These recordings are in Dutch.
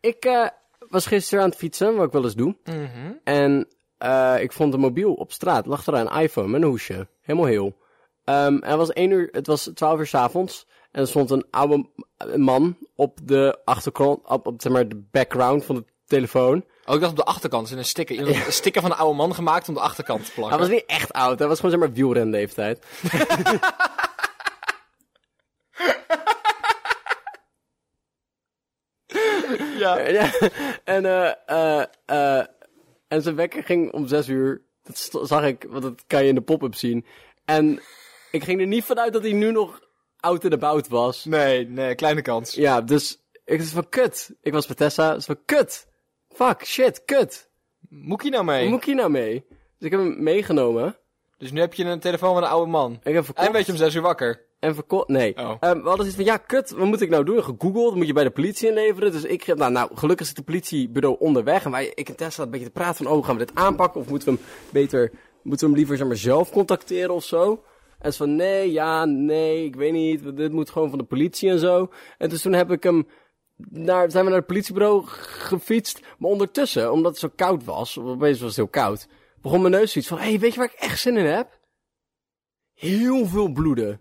ik eh, was gisteren aan het fietsen, wat ik wel eens doe. En eh, ik vond een mobiel op straat. Lag er een iPhone met een hoesje. Helemaal heel. Ehm, en het was 1 uur, het was 12 uur 's avonds. En er stond een oude m- een man op de achtergrond, op, op zeg maar de background van de telefoon. Oh, ik dacht op de achterkant. Er is een sticker. Iemand heeft Een sticker van een oude man gemaakt om de achterkant te plakken. Hij was niet echt oud, hij was gewoon zeg maar wielrenleeftijd. Ja. Ja, en, eh, eh, eh, en zijn wekker ging om zes uur. Dat st- zag ik, want dat kan je in de pop-up zien. En ik ging er niet vanuit dat hij nu nog out and about was. Nee, nee, kleine kans. Ja, dus ik was van kut. Ik was met Tessa, dus van kut. Fuck, shit, kut. Moet ik hier nou mee? Hoe moet ik hier nou mee? Dus ik heb hem meegenomen. Dus nu heb je een telefoon van een oude man. Ik heb verkocht. En weet je om zes uur wakker. En verkocht. Nee. Oh. Ehm, we hadden zoiets van, ja, kut, wat moet ik nou doen? Gegoogeld, moet je bij de politie inleveren. Dus ik, nou, nou, gelukkig zit de politiebureau onderweg. En wij, ik en Tessa, een beetje te praten van, oh, gaan we dit aanpakken? Of moeten we hem beter, moeten we hem liever, zeg maar, zelf contacteren of zo? En ze van, nee, ja, nee, ik weet niet. Dit moet gewoon van de politie en zo. En dus toen heb ik hem, naar, zijn we naar het politiebureau g- gefietst. Maar ondertussen, omdat het zo koud was, want opeens was het heel koud, begon mijn neus zoiets van, hé, hey, weet je waar ik echt zin in heb? Heel veel bloeden.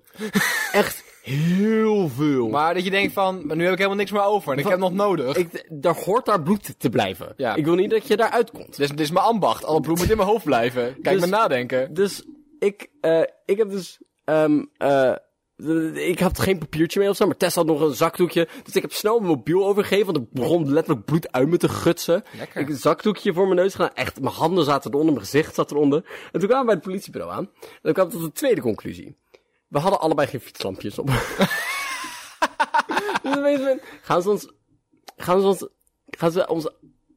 echt heel veel. Maar dat je denkt van, maar nu heb ik helemaal niks meer over. En ik Wat? heb nog nodig. ik, daar hoort daar bloed te blijven. Ja. Ik wil niet dat je daar uitkomt. Dit, is, dit is mijn ambacht. Alle bloed moet in mijn hoofd blijven. Kijk Dus- me nadenken. Dus ik, eh, ik heb dus. ehm, eh, d- d- ik had geen papiertje mee of zo, maar Tess had nog een zakdoekje. Dus ik heb snel mijn mobiel overgegeven, want er begon letterlijk bloed uit me te gutsen. Lekker. Ik een zakdoekje voor mijn neus gedaan. Echt, mijn handen zaten eronder, mijn gezicht zat eronder. En toen kwamen we bij het politiebureau aan. En toen kwam we tot de tweede conclusie. We hadden allebei geen fietslampjes op. dus opeens ben- gaan ze ons, gaan ze ons, gaan ze ons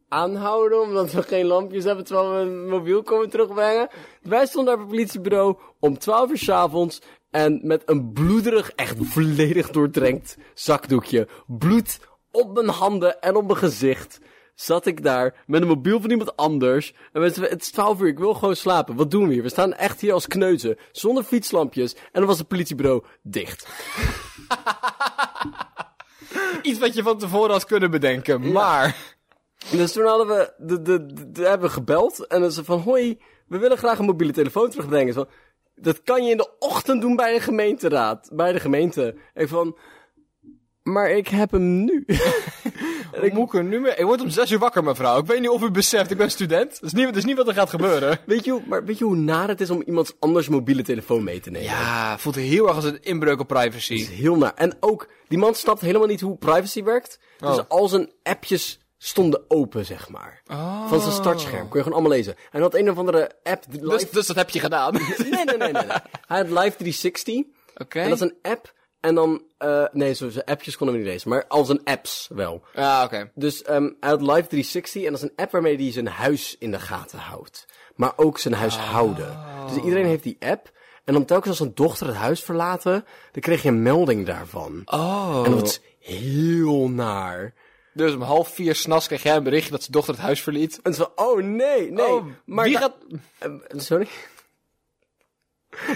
aanhouden omdat we geen lampjes hebben terwijl we een mobiel komen terugbrengen. Wij stonden daar op het politiebureau om 12 uur 's avonds en met een bloederig, echt volledig doordrenkt zakdoekje, bloed op mijn handen en op mijn gezicht, zat ik daar met een mobiel van iemand anders. En mensen, het is 12 uur, ik wil gewoon slapen. Wat doen we hier? We staan echt hier als kneuzen, zonder fietslampjes. En dan was het politiebureau dicht. Iets wat je van tevoren had kunnen bedenken. Maar, Dus toen hadden we, de, de, de, de- hebben we gebeld en dan ze van, hoi, we willen graag een mobiele telefoon terugbrengen. Zo, dat kan je in de ochtend doen bij de gemeenteraad, bij de gemeente. Ik van, maar ik heb hem nu. ik moet ik er nu mee. Ik word om zes uur wakker, mevrouw. Ik weet niet of u beseft, ik ben student. Dat is niet, dat is niet wat er gaat gebeuren. weet, je, hoe- maar weet je hoe naar het is om iemand anders mobiele telefoon mee te nemen? Ja, voelt heel erg als een inbreuk op privacy. is heel naar. En ook, die man snapt helemaal niet hoe privacy werkt. Oh. Dus al zijn appjes stonden open, zeg maar. Oh. Van zijn startscherm. Kun je gewoon allemaal lezen. En hij had een of andere app. die Live... Dus, dus dat heb je gedaan. Oké. Nee, nee, nee, nee, nee. Hij had Live 360. En dat is een app. En dan... eh, nee, zo- zijn appjes konden we niet lezen. Maar al zijn apps wel. Ja, oké. Dus ehm hij had Live 360. En dat is een app waarmee hij zijn huis in de gaten houdt. Maar ook zijn Ah. huishouden. Dus iedereen heeft die app. En dan telkens als een dochter het huis verlaten, dan kreeg je een melding daarvan. Oh. En dat is heel naar. Dus om half vier s'nachts kreeg jij een berichtje dat zijn dochter het huis verliet. En zo, oh nee, nee. Oh, wie da- gaat... Eh, sorry?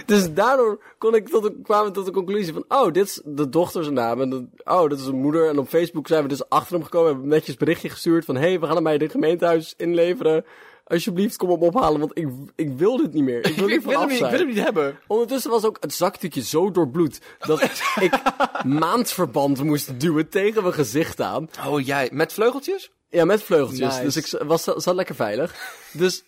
Dus daardoor kon ik tot de, kwamen we tot de conclusie van, oh, dit is de dochter zijn naam. En dat- oh, dat is een moeder. En op Facebook zijn we dus achter hem gekomen. Hebben hem netjes berichtje gestuurd van, hé, hey, we gaan hem bij het gemeentehuis inleveren. Alsjeblieft, kom hem ophalen, want ik, ik wil dit niet meer. Ik wil Ik niet wil, hem, vanaf niet- ik wil hem zijn. niet hebben. Ondertussen was ook het zakdoekje zo doorbloed Oh, dat ik maandverband moest duwen tegen mijn gezicht aan. Oh, jij. Met vleugeltjes? Ja, met vleugeltjes. Nice. Dus ik z- was, zat lekker veilig. Dus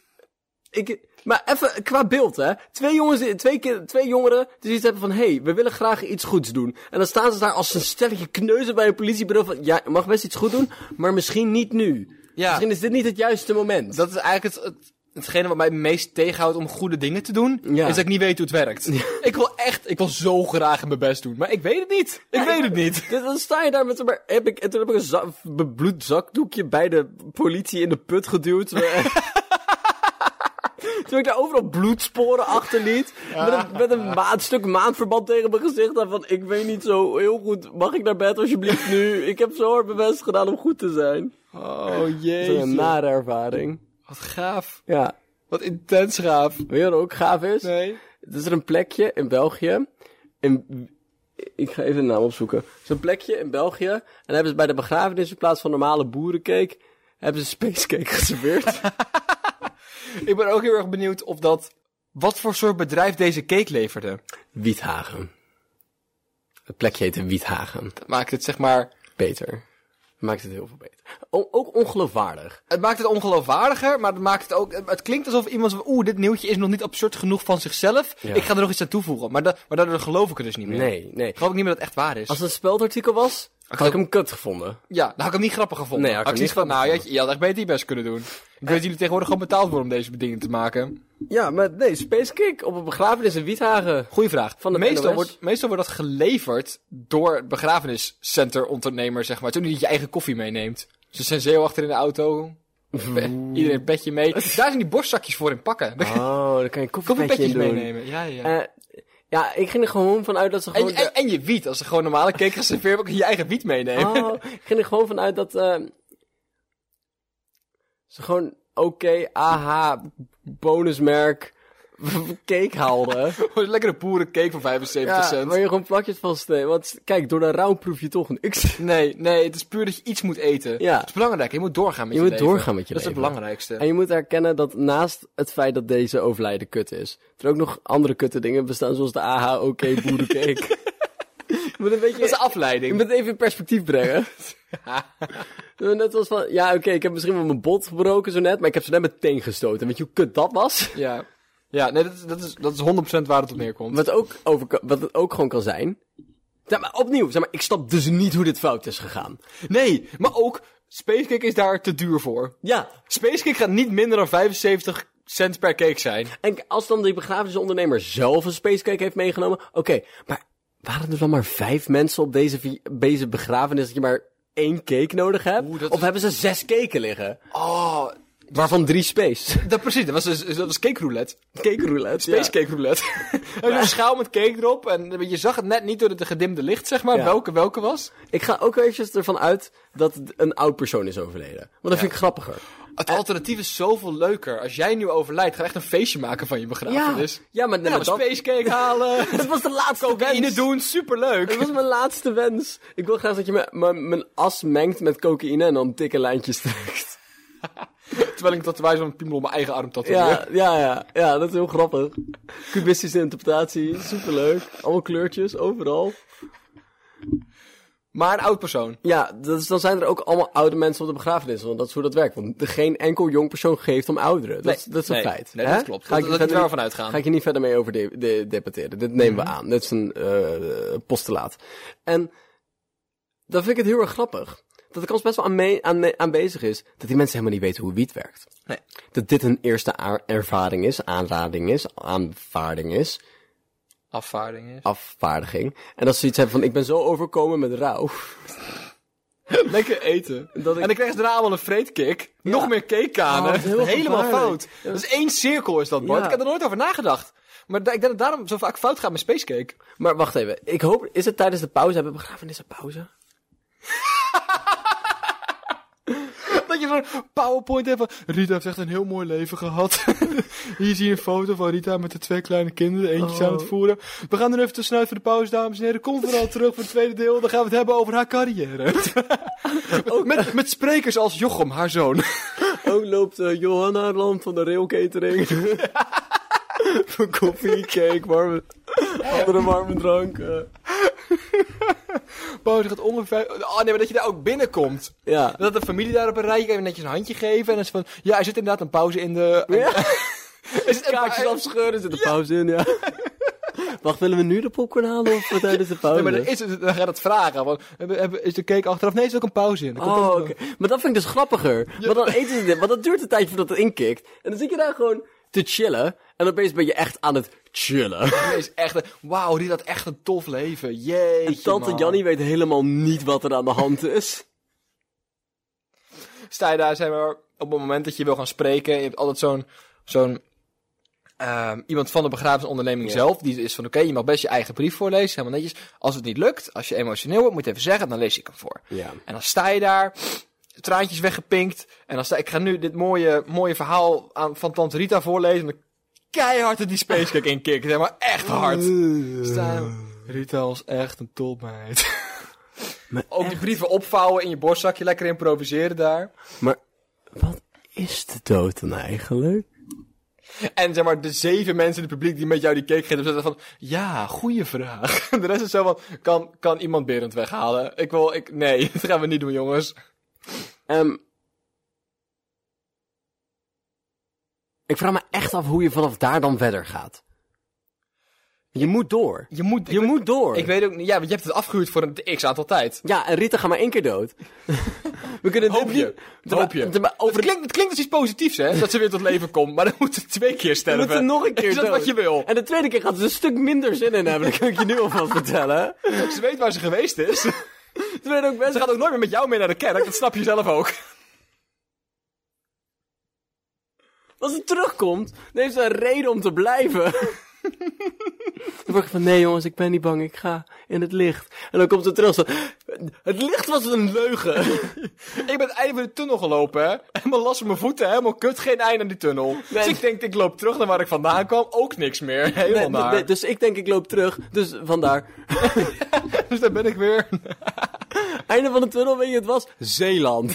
ik... Maar even qua beeld, hè. Twee, jongens, die- twee, keer, twee jongeren die zoiets hebben van... Hé, hey, we willen graag iets goeds doen. En dan staan ze daar als een stelletje kneuzen bij een politiebureau van... Ja, je mag best iets goed doen, maar misschien niet nu. Ja. Misschien is dit niet het juiste moment. Dat is eigenlijk het, het- hetgene wat mij het meest tegenhoudt om goede dingen te doen. Ja. Is dat ik niet weet hoe het werkt. Ik wil echt, ik wil zo graag mijn best doen. Maar ik weet het niet. Ik weet het niet. Dus dan sta je daar met... Maar heb ik, en toen heb ik een za- bebloed zakdoekje bij de politie in de put geduwd. toen ik daar overal bloedsporen achterliet. Met een, met een ma- een stuk maandverband tegen mijn gezicht. aan Van, ik weet niet zo heel goed. Mag ik naar bed alsjeblieft nu? Ik heb zo hard mijn best gedaan om goed te zijn. Oh Dat is een jee. nare ervaring. Wat gaaf. Ja. Wat intens gaaf. Weet je wat ook gaaf is? Nee. Het is er een plekje in België. In Ik ga even de naam opzoeken. Zo'n plekje in België. En dan hebben ze bij de begrafenis in plaats van normale boerencake. hebben ze spacecake geserveerd. Ik ben ook heel erg benieuwd of dat... Wat voor soort bedrijf deze cake leverde. Wiethagen. Het plekje heette Wiethagen. Dat maakt het zeg maar... Beter. Maakt het heel veel beter. O- ook ongeloofwaardig. Het maakt het ongeloofwaardiger, maar het maakt het ook... Het klinkt alsof iemand van... Oeh, dit nieuwtje is nog niet absurd genoeg van zichzelf. Ja. Ik ga er nog iets aan toevoegen. Maar, da- maar daardoor geloof ik het dus niet meer. Nee, nee. Geloof ik niet meer dat het echt waar is. Als het een speldartikel was, had ik hem kut gevonden. Ja, dan had ik hem niet grappig gevonden. Nee, had ik had ik hem zoiets niet van, nou, je, had- je had echt beter je best kunnen doen. Ik weet dat jullie tegenwoordig gewoon betaald worden om deze dingen te maken. Ja, maar nee, spacecake op een begrafenis in Wiethagen. Goeie vraag. Van de meestal, NOS? wordt, meestal wordt dat geleverd door het begrafeniscenterondernemer, zeg maar. Toen niet je eigen koffie meeneemt. Ze zijn zeeuw achter in de auto. Be- Iedereen een petje mee. Daar zijn die borstzakjes voor in pakken. Daar kun je Oh, dan kan je een koffiepetje Koffiepetjes in doen. meenemen. Ja, ja. Eh, ja, ik ging er gewoon vanuit dat ze en, gewoon... je- en, en je wiet. Als er gewoon normale cake geserveerd wordt, kun je je eigen wiet meenemen. Oh, ik ging er gewoon vanuit dat eh, ze gewoon oké, aha, bonusmerk cake haalden. Gewoon een lekkere boerencake van 75 Ah. ja, cent. waar je gewoon plakjes van snee. Want kijk, door de rouw proef je toch niks. Nee, nee, het is puur dat je iets moet eten. Ja. Het is belangrijk, je moet doorgaan met Je je, moet leven. doorgaan met je Dat is het leven. belangrijkste. En je moet erkennen dat naast het feit dat deze overlijden kut is, er ook nog andere kutte dingen bestaan, zoals de aha, oké, boerencake. je moet een Dat is beetje... de afleiding. Je moet het even in perspectief brengen. Zo net was van, ja oké, ik heb misschien wel mijn bot gebroken zo net, maar ik heb zo net mijn teen gestoten. Weet je hoe kut dat was? Ja, ja nee, dat, is- dat, is, dat is 100% waar het op neerkomt. Wat, ook over, wat het ook gewoon kan zijn. Zeg maar, opnieuw, zeg maar, ik snap dus niet hoe dit fout is gegaan. Nee, maar ook Spacecake is daar te duur voor. Ja, Spacecake gaat niet minder dan 75 cent per cake zijn. en als dan die begrafenisondernemer zelf een spacecake heeft meegenomen, oké, maar waren er dan maar vijf mensen op deze, vi- deze begrafenis dat je maar één cake nodig hebt? Oeh, dat of is- hebben ze zes cakeen liggen? Oh, Waarvan drie space. dat precies. Dat was, dus- dat was cake roulette. Cake roulette. ja. Spacecake roulette. Hij had een Oh, dus schaal met cake erop en je zag het net niet door het gedimde licht, zeg maar, Ja. welke welke was. Ik ga ook eventjes ervan uit dat het een oud persoon is overleden. Want dat vind ik grappiger. Het alternatief is zoveel leuker. Als jij nu overlijdt, ga echt een feestje maken van je dus. begrafenis. ja maar, nee, Ja, maar dat... spacecake halen. Het was de laatste Cocaïne wens. doen, superleuk. Dat was mijn laatste wens. Ik wil graag dat je mijn- mijn mijn as mengt met cocaïne en dan dikke lijntjes trekt. Terwijl ik dat wijze van een piemel op mijn eigen arm tatoeëer. Ja, ja, ja. Ja, dat is heel grappig. Cubistische interpretatie, superleuk. Allemaal kleurtjes, overal. Maar een oud persoon. Ja, dus dan zijn er ook allemaal oude mensen op de begrafenis, want dat is hoe dat werkt. Want er geen enkel jong persoon geeft om ouderen. Dat, is- Nee, dat is een nee, feit. nee, hè? dat klopt. Ga ik Dat- je dat- verder daar niet- van uitgaan. Ga ik je niet verder mee over de, de- debatteren. Dit nemen Mhm. we aan. Dit is een eh, postulaat. En dan vind ik het heel erg grappig. Dat de kans best wel aan mee- aan mee- aanwezig is dat die mensen helemaal niet weten hoe wiet werkt. Nee. Dat dit een eerste aar- ervaring is, aanrading is, aanvaarding is, Afvaarding is. afvaardiging. En dat ze iets hebben van, ik ben zo overkomen met rouw. Lekker eten. Dat ik- En dan krijg je daarna allemaal een vreetkick. Nog meer Oh, cakekanen. dat is heel Helemaal gevaarlijk. fout. Dat is één cirkel is dat, Bart. Ja. Ik heb er nooit over nagedacht. Maar da- ik denk dat daarom zo vaak fout gaat met spacecake. Maar wacht even, ik hoop, is het tijdens de pauze? Hebben begrafenissen pauze? Dat je zo'n powerpoint hebt van... Rita heeft echt een heel mooi leven gehad. Hier zie je een foto van Rita met de twee kleine kinderen. Eentje aan het voeren. We gaan er even tussenuit voor de pauze, dames en heren. Kom vooral terug voor het tweede deel. Dan gaan we het hebben over haar carrière. met, met sprekers als Jochem, haar zoon. Ook loopt eh, Johanna Land van de Rail Catering. Voor koffie, cake, warme, andere warme drank. eh. Pauze gaat ongeveer... Oh nee, maar dat je daar ook binnenkomt. ja. Dat de familie daar op een rijtje even netjes een handje geven. En dan is van... Ja, er zit inderdaad een pauze in de... Is het Kaartjes afscheuren, zit de pauze in, ja. Wacht, willen we nu de popcorn halen of tijdens de pauze? Nee, maar dan, is het, dan gaat het vragen. Want, hebben- hebben- is de cake achteraf? Nee, is ook een pauze in. Dan komt Oh, het- oké. Maar dat vind ik dus grappiger. Want dan eten ze dit, want dat duurt een tijdje voordat het inkikt. En dan zit je daar gewoon te chillen. En opeens ben je echt aan het chillen. Dit is echt een- Wauw, die had echt een tof leven. Jeetje, En tante man. Jannie weet helemaal niet wat er aan de hand is. Sta je daar, zeg maar, op het moment dat je wil gaan spreken... Je hebt altijd zo'n... zo'n ehm, iemand van de begrafenisonderneming zelf, die is van oké, je mag best je eigen brief voorlezen, helemaal netjes. Als het niet lukt, als je emotioneel wordt, moet je even zeggen, dan lees ik hem voor. Ja. En dan sta je daar, traantjes weggepinkt. En dan sta ik ga nu dit mooie, mooie verhaal aan, van Tante Oh, Rita voorlezen. En dan keihard er die spacecake in kicken. Zeg maar echt hard. Sta je- Eh, Rita was echt een topmeid. Ook die brieven opvouwen in je borstzakje, lekker improviseren daar. Maar wat is de dood dan eigenlijk? En zeg maar, de zeven mensen in het publiek die met jou die cake geven, zetten van, ja, goede vraag. De rest is zo van, kan, kan iemand Berend weghalen? Ik wil, ik, nee, dat gaan we niet doen, jongens. Ehm ik vraag me echt af hoe je vanaf daar dan verder gaat. Je moet door. Je moet, Je moet door. ik weet ook niet, ja, want je hebt het afgehuurd voor een x aantal tijd. Ja, en Rita gaat maar één keer dood. We kunnen dit Hoop je. niet- Hoop je. Terwijl- Het Over klinkt, het klinkt als iets positiefs, hè? Dat ze weer tot leven komt, maar dan moet ze twee keer We sterven. moeten nog een keer Is dat dood. wat je wil? En de tweede keer gaat ze een stuk minder zin in hebben. Dat kan ik je nu alvast vertellen. Ze weet waar ze geweest is. Ze Ze weet ook best... gaat ook nooit meer met jou mee naar de kerk, dat snap je zelf ook. Als ze terugkomt, dan heeft ze een reden om te blijven. Dan word ik van, nee jongens, ik ben niet bang, ik ga in het licht. En dan komt ze terug zo, het licht was een leugen. Ik ben het einde van de tunnel gelopen, hè? Helemaal last van mijn voeten, hè? helemaal kut, geen einde aan die tunnel. Dus ik denk, ik loop terug naar waar ik vandaan kwam, ook niks meer. Helemaal Nee, naar. nee, dus ik denk, ik loop terug, dus vandaar. Dus daar ben ik weer. Einde van de tunnel, weet je, het was Zeeland.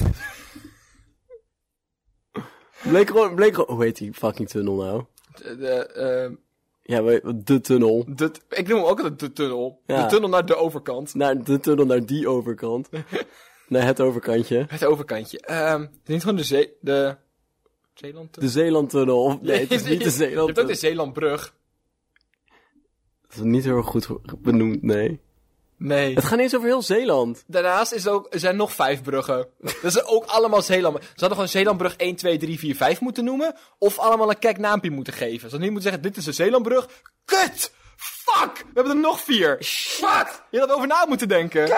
bleek gewoon, bleek gewoon, hoe heet die fucking tunnel nou? De, de, Ja, we- de tunnel. eh, de- ik noem hem ook altijd de tunnel. Ja. De tunnel naar de overkant. Naar de tunnel, naar die overkant. naar het overkantje. Het overkantje. Ehm, het is niet gewoon de zee... De... Zeeland? De Zeelandtunnel. Of, nee, het is niet de Je hebt ook Zeelandtunnel. de Zeelandbrug. Dat is niet heel erg goed ge- benoemd, nee. Nee. Het gaat niet eens over heel Zeeland. Daarnaast is er ook, er zijn nog vijf bruggen. Dat zijn ook allemaal Zeeland. Ze hadden gewoon Zeelandbrug 1, 2, 3, 4, 5 moeten noemen. Of allemaal een kijknaampje moeten geven. Ze hadden niet moeten zeggen, dit is de Zeelandbrug. Kut! Fuck! We hebben er nog vier. Fuck! Je had over na moeten denken.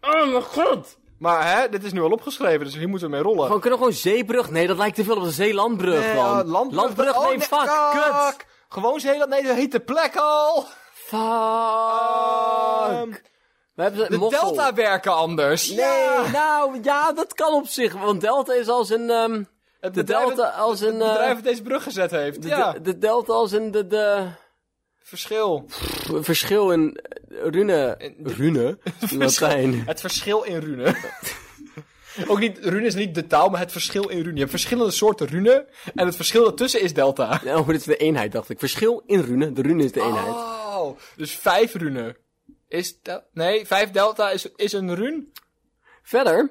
Oh mijn god! Maar hè, dit is nu al opgeschreven, dus hier moeten we mee rollen. Gewoon, kunnen we gewoon Zeebrug? Nee, dat lijkt te veel op de Zeelandbrug Nee, dan. eh, landbrug. Landbrug, Oh, nee, nee, fuck, kut! Gewoon Zeeland, nee, dat heet de plek al. Fuck! Ehm, We hebben de mossel. delta werken anders. Nee, nou, ja, dat kan op zich. Want delta is als een... ehm, Het de bedrijf- delta als een... Het eh, bedrijf dat deze brug gezet heeft. de, ja, de, de delta als een... De, de, verschil. pff, verschil in eh, rune... Rune? Latijn. Het verschil in rune. Ook niet, rune is niet de taal, maar het verschil in rune. Je hebt verschillende soorten rune. En het verschil daartussen is delta. Oh, dit is de eenheid, dacht ik. Verschil in rune. De rune is de eenheid. Oh, dus vijf rune. Is del- nee, vijf delta is, is een rune. Verder.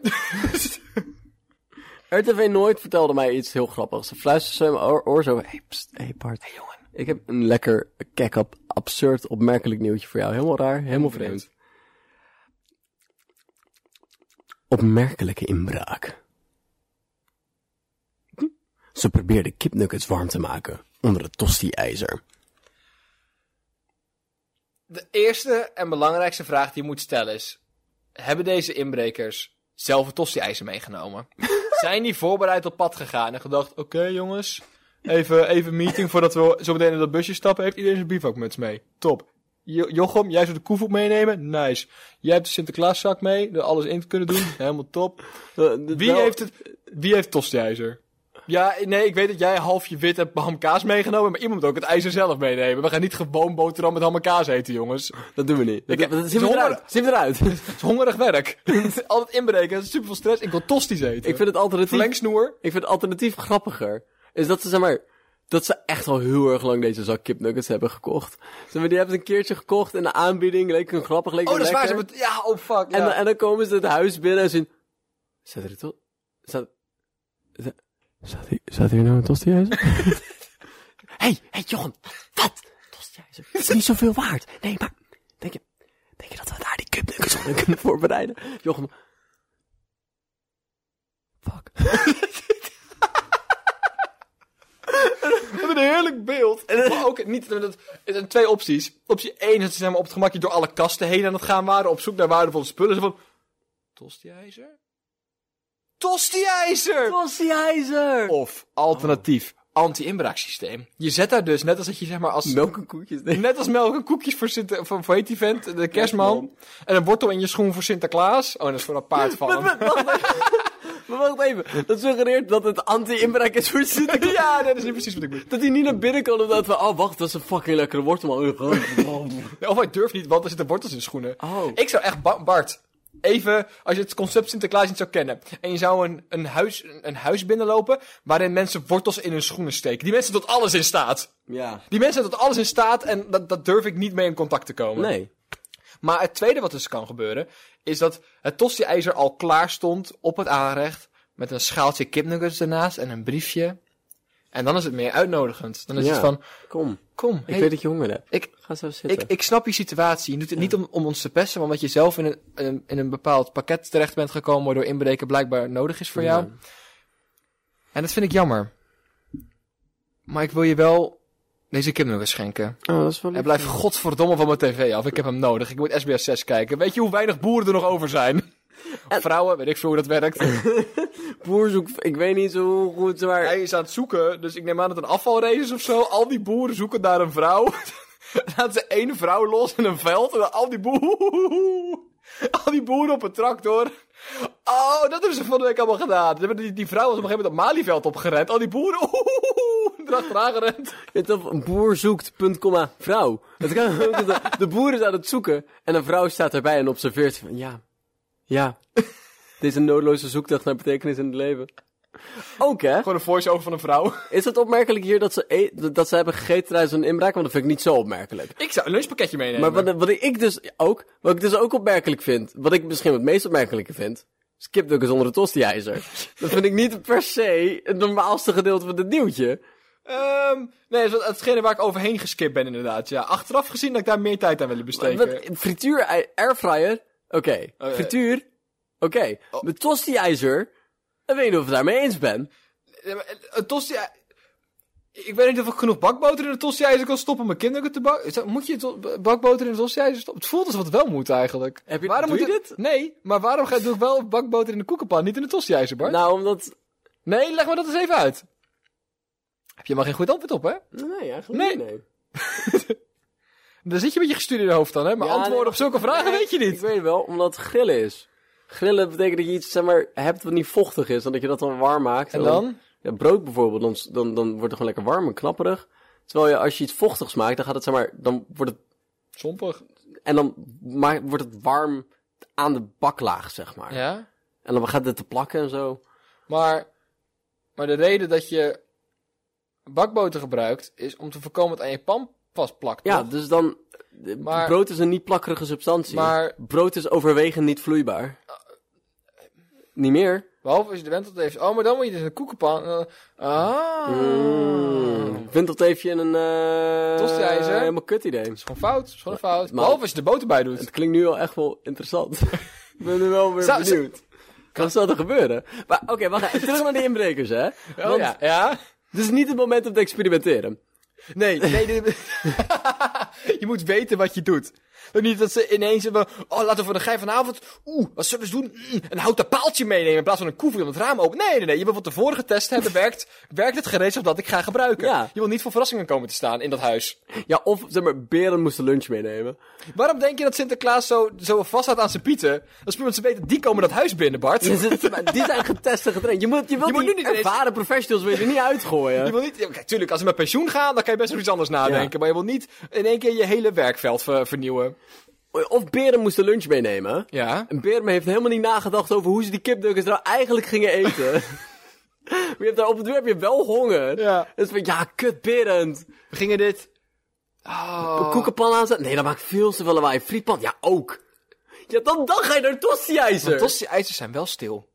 RTV Nooit vertelde mij iets heel grappigs. Ze fluisterde zo in mijn oor, oor zo. Hey, pst, hey Bart. jongen. Ik heb een lekker kek-up, absurd, opmerkelijk nieuwtje voor jou. Helemaal raar, helemaal vreemd. Opmerkelijke inbraak. Ze probeerde kipnuggets warm te maken onder het tosti-ijzer. De eerste en belangrijkste vraag die je moet stellen is... Hebben deze inbrekers zelf een tosti-ijzer meegenomen? Zijn die voorbereid op pad gegaan en gedacht... Oké jongens, even even meeting voordat we zo meteen in dat busje stappen. Heeft iedereen zijn bivakmuts mee? Top. Jo- Jochem, jij zou de koevoet meenemen? Nice. Jij hebt de Sinterklaaszak mee, er alles in te kunnen doen. Helemaal top. Eh, Wie nou, heeft het... Wie heeft tosti-ijzer? Ja, nee, ik weet dat jij half je wit hebt ham en kaas meegenomen, maar iemand moet ook het ijzer zelf meenemen. We gaan niet gewoon boterham met ham en kaas eten, jongens. Dat doen we niet. Dat, Ik heb- dat, zien we Ze eruit. horen- Zien we eruit. Het is hongerig werk. Altijd inbreken, het is super veel stress. Ik wil tosties eten. Ik vind het alternatief verlengsnoer. Ik vind het alternatief grappiger. Is dat ze, zeg maar, dat ze echt al heel erg lang deze zak kipnuggets hebben gekocht. Zeg maar, die hebben ze een keertje gekocht in de aanbieding. Leek hun grappig, leek Oh, hun dat is waar. Ze lekker. hebben het- Ja, oh fuck. en, ja. dan, en dan komen ze het huis binnen en zien... Zat er toch... Zat... Zat, zat hier, zat hier nou een tostiijzer? hey, hey Jochem. Wat? Tostiijzer. is niet zoveel waard. Nee, maar... Denk je, denk je dat we daar die kipnuggets op kunnen voorbereiden? Jochem... Fuck. Wat een heerlijk beeld. Maar eh, ook niet, dat, het zijn twee opties. Optie 1 is dat ze zeg maar, op het gemakje door alle kasten heen aan het gaan waren. Op zoek naar waardevolle spullen. Ze van, tostiijzer? Tostiijzer! Tostiijzer! Of alternatief, anti-inbraaksysteem. Je zet daar dus, net als dat je zeg maar als... Melk en Oh, koekjes. Nee. Net als melk en koekjes voor, Sinter, voor, voor heet die vent, de kerstman. En een wortel in je schoen voor Sinterklaas. Oh, dat is voor een paard vallen. Wacht, wacht, wacht. Maar wacht even, dat suggereert dat het anti-inbraak is voor Sinterklaas. Ja, nee, dat is niet precies wat ik bedoel. Dat hij niet naar binnen kan omdat we, oh wacht, dat is een fucking lekkere wortel, man. Of hij durft niet, want er zitten wortels in de schoenen. Oh. Ik zou echt, Ba- Bart, even, als je het concept Sinterklaas niet zou kennen. En je zou een, een, huis, een huis binnenlopen waarin mensen wortels in hun schoenen steken. Die mensen tot alles in staat. Ja. Die mensen zijn tot alles in staat en dat, dat durf ik niet mee in contact te komen. Nee. Maar het tweede wat dus kan gebeuren, is dat het tosti-ijzer al klaar stond op het aanrecht. Met een schaaltje kipnuggets ernaast en een briefje. En dan is het meer uitnodigend. Dan is Ja. het van, Kom, kom, ik hey, weet dat je honger hebt. ik, Ga zo zitten. ik, ik snap je situatie. Je doet het niet om, om ons te pesten, maar omdat je zelf in een, in, een- in een bepaald pakket terecht bent gekomen... waardoor inbreken blijkbaar nodig is voor jou. En dat vind ik jammer. Maar ik wil je wel deze kipnuggets schenken. Oh, dat is wel Hij blijft godverdomme van mijn tv af. Ik heb hem nodig. Ik moet SBS 6 kijken. Weet je hoe weinig boeren er nog over zijn? Of Vrouwen, weet ik veel hoe dat werkt. boerzoek, ik weet niet zo goed waar... Hij is aan het zoeken, dus ik neem aan dat het een afvalrace is of zo. Al die boeren zoeken naar een vrouw. Laten ze één vrouw los in een veld en dan al die boeren... Al die boeren op een tractor. Oh, dat hebben ze van de week allemaal gedaan. Die, die, die vrouw was op een gegeven moment op Malieveld opgerend. Al die boeren... Erachteraan gerend. Weet je, een boer zoekt, punt, komma, vrouw. Het kan ook dat de- de boer is aan het zoeken en een vrouw staat erbij en observeert van, ja, ja. Dit is een noodloze zoektocht naar betekenis in het leven. Ook hè, Gewoon een voice-over van een vrouw. is het opmerkelijk hier dat ze, e- dat ze hebben gegeten tijdens een inbraak? Want dat vind ik niet zo opmerkelijk. Ik zou een lunchpakketje meenemen. Maar wat, wat ik dus ook, wat ik dus ook opmerkelijk vind, wat ik misschien het meest opmerkelijke vind, is kipnuggets onder de tosti-ijzer. Dat vind ik niet per se het normaalste gedeelte van het nieuwtje. Ehm nee, dat is hetgene waar ik overheen geskipt ben inderdaad. Ja, achteraf gezien dat ik daar meer tijd aan willen besteden. Wat, frituur, ei- airfryer, oké. Oké. Frituur, oké. Oh. Met tosti-ijzer, ik weet niet of ik het daarmee eens ben. Ja, maar eh, Een tosti... Ik weet niet of ik genoeg bakboter in een tosti-ijzer kan stoppen om mijn kinderen te bakken. Moet je to- bakboter in een tosti-ijzer stoppen? Het voelt alsof het wel moet eigenlijk. Heb je- waarom doe moet je het- Nee, maar waarom ga, doe ik wel bakboter in de koekenpan, niet in de tosti-ijzer, Bart? Nou, omdat... Nee, leg me dat eens even uit. Heb je maar geen goed antwoord op, hè? Nee, eigenlijk Nee. niet, nee. Dan zit je een beetje gestuurd in je hoofd dan, hè? Maar Ja, antwoorden nee, op zulke vragen nee, weet je Ik niet. weet wel, omdat het grillen is. Grillen betekent dat je iets, zeg maar, hebt wat niet vochtig is. En dat je dat dan warm maakt. En dan? Ja, brood bijvoorbeeld, dan, dan, dan wordt het gewoon lekker warm en knapperig. Terwijl je, als je iets vochtigs maakt, dan gaat het, zeg maar, dan wordt het... Sompig. En dan ma- wordt het warm aan de baklaag, zeg maar. Ja? En dan gaat het te plakken en zo. Maar, maar de reden dat je bakboter gebruikt, is om te voorkomen dat het aan je pan vastplakt. Ja, toch? dus dan... eh, Maar- brood is een niet plakkerige substantie. Maar- Eh. Brood is overwegend niet vloeibaar. niet meer? Behalve als je de wendel heeft. Oh, maar dan moet je dus een koekenpan. eh, ah. Mm. Windelteefje in een... eh Tosti-ijzer? Helemaal kut idee. Dat is gewoon fout. Dat is gewoon een fout. maar- Behalve als je de boter bij Het doet. klinkt nu al echt wel interessant. ik ben nu wel weer Zou- zou- benieuwd. Kan zal er gebeuren? Maar oké, wacht even. Terug naar die inbrekers, hè? Oh, Want ja. ja. dit is niet het moment om te experimenteren. Nee, nee. dit- je moet weten wat je doet. Ook niet dat ze ineens hebben. Oh, laten we voor de gein vanavond. Oeh, wat zullen we eens doen? Mm, een houten paaltje meenemen in plaats van een koe om het raam open. Nee, nee, nee. Je wil van tevoren getest hebben. Werkt, werkt het gereedschap dat ik ga gebruiken? Ja. Je wil niet voor verrassingen komen te staan in dat huis. Ja, of zeg maar, beren moesten lunch meenemen. Waarom denk je dat Sinterklaas zo, zo vaststaat aan zijn pieten? Dat is omdat ze weten, die komen dat huis binnen, Bart. Dus het- maar die zijn getest en getraind. Je moet, je wilt Je moet die nu niet ineens- ervaren professionals wil je er niet uitgooien. Je wil niet, ja, kijk, tuurlijk, als ze met pensioen gaan, dan kan je best nog iets anders nadenken. Ja. Maar je wil niet in één keer je hele werkveld ver- vernieuwen. Of beren moesten lunch meenemen. Ja. En Beerme heeft helemaal niet nagedacht over hoe ze die kipnuggets nou eigenlijk gingen eten. maar je hebt daar op het weer heb je wel honger. Ja. Dus van, ja, kut Berend. We gingen dit. Oh. Koekenpan aanzetten? Nee, dat maakt veel te veel lawaai. Frietpan? Ja, ook. Ja, dan, dan ga je naar tosti-ijzer. Tosti-ijzers zijn wel stil.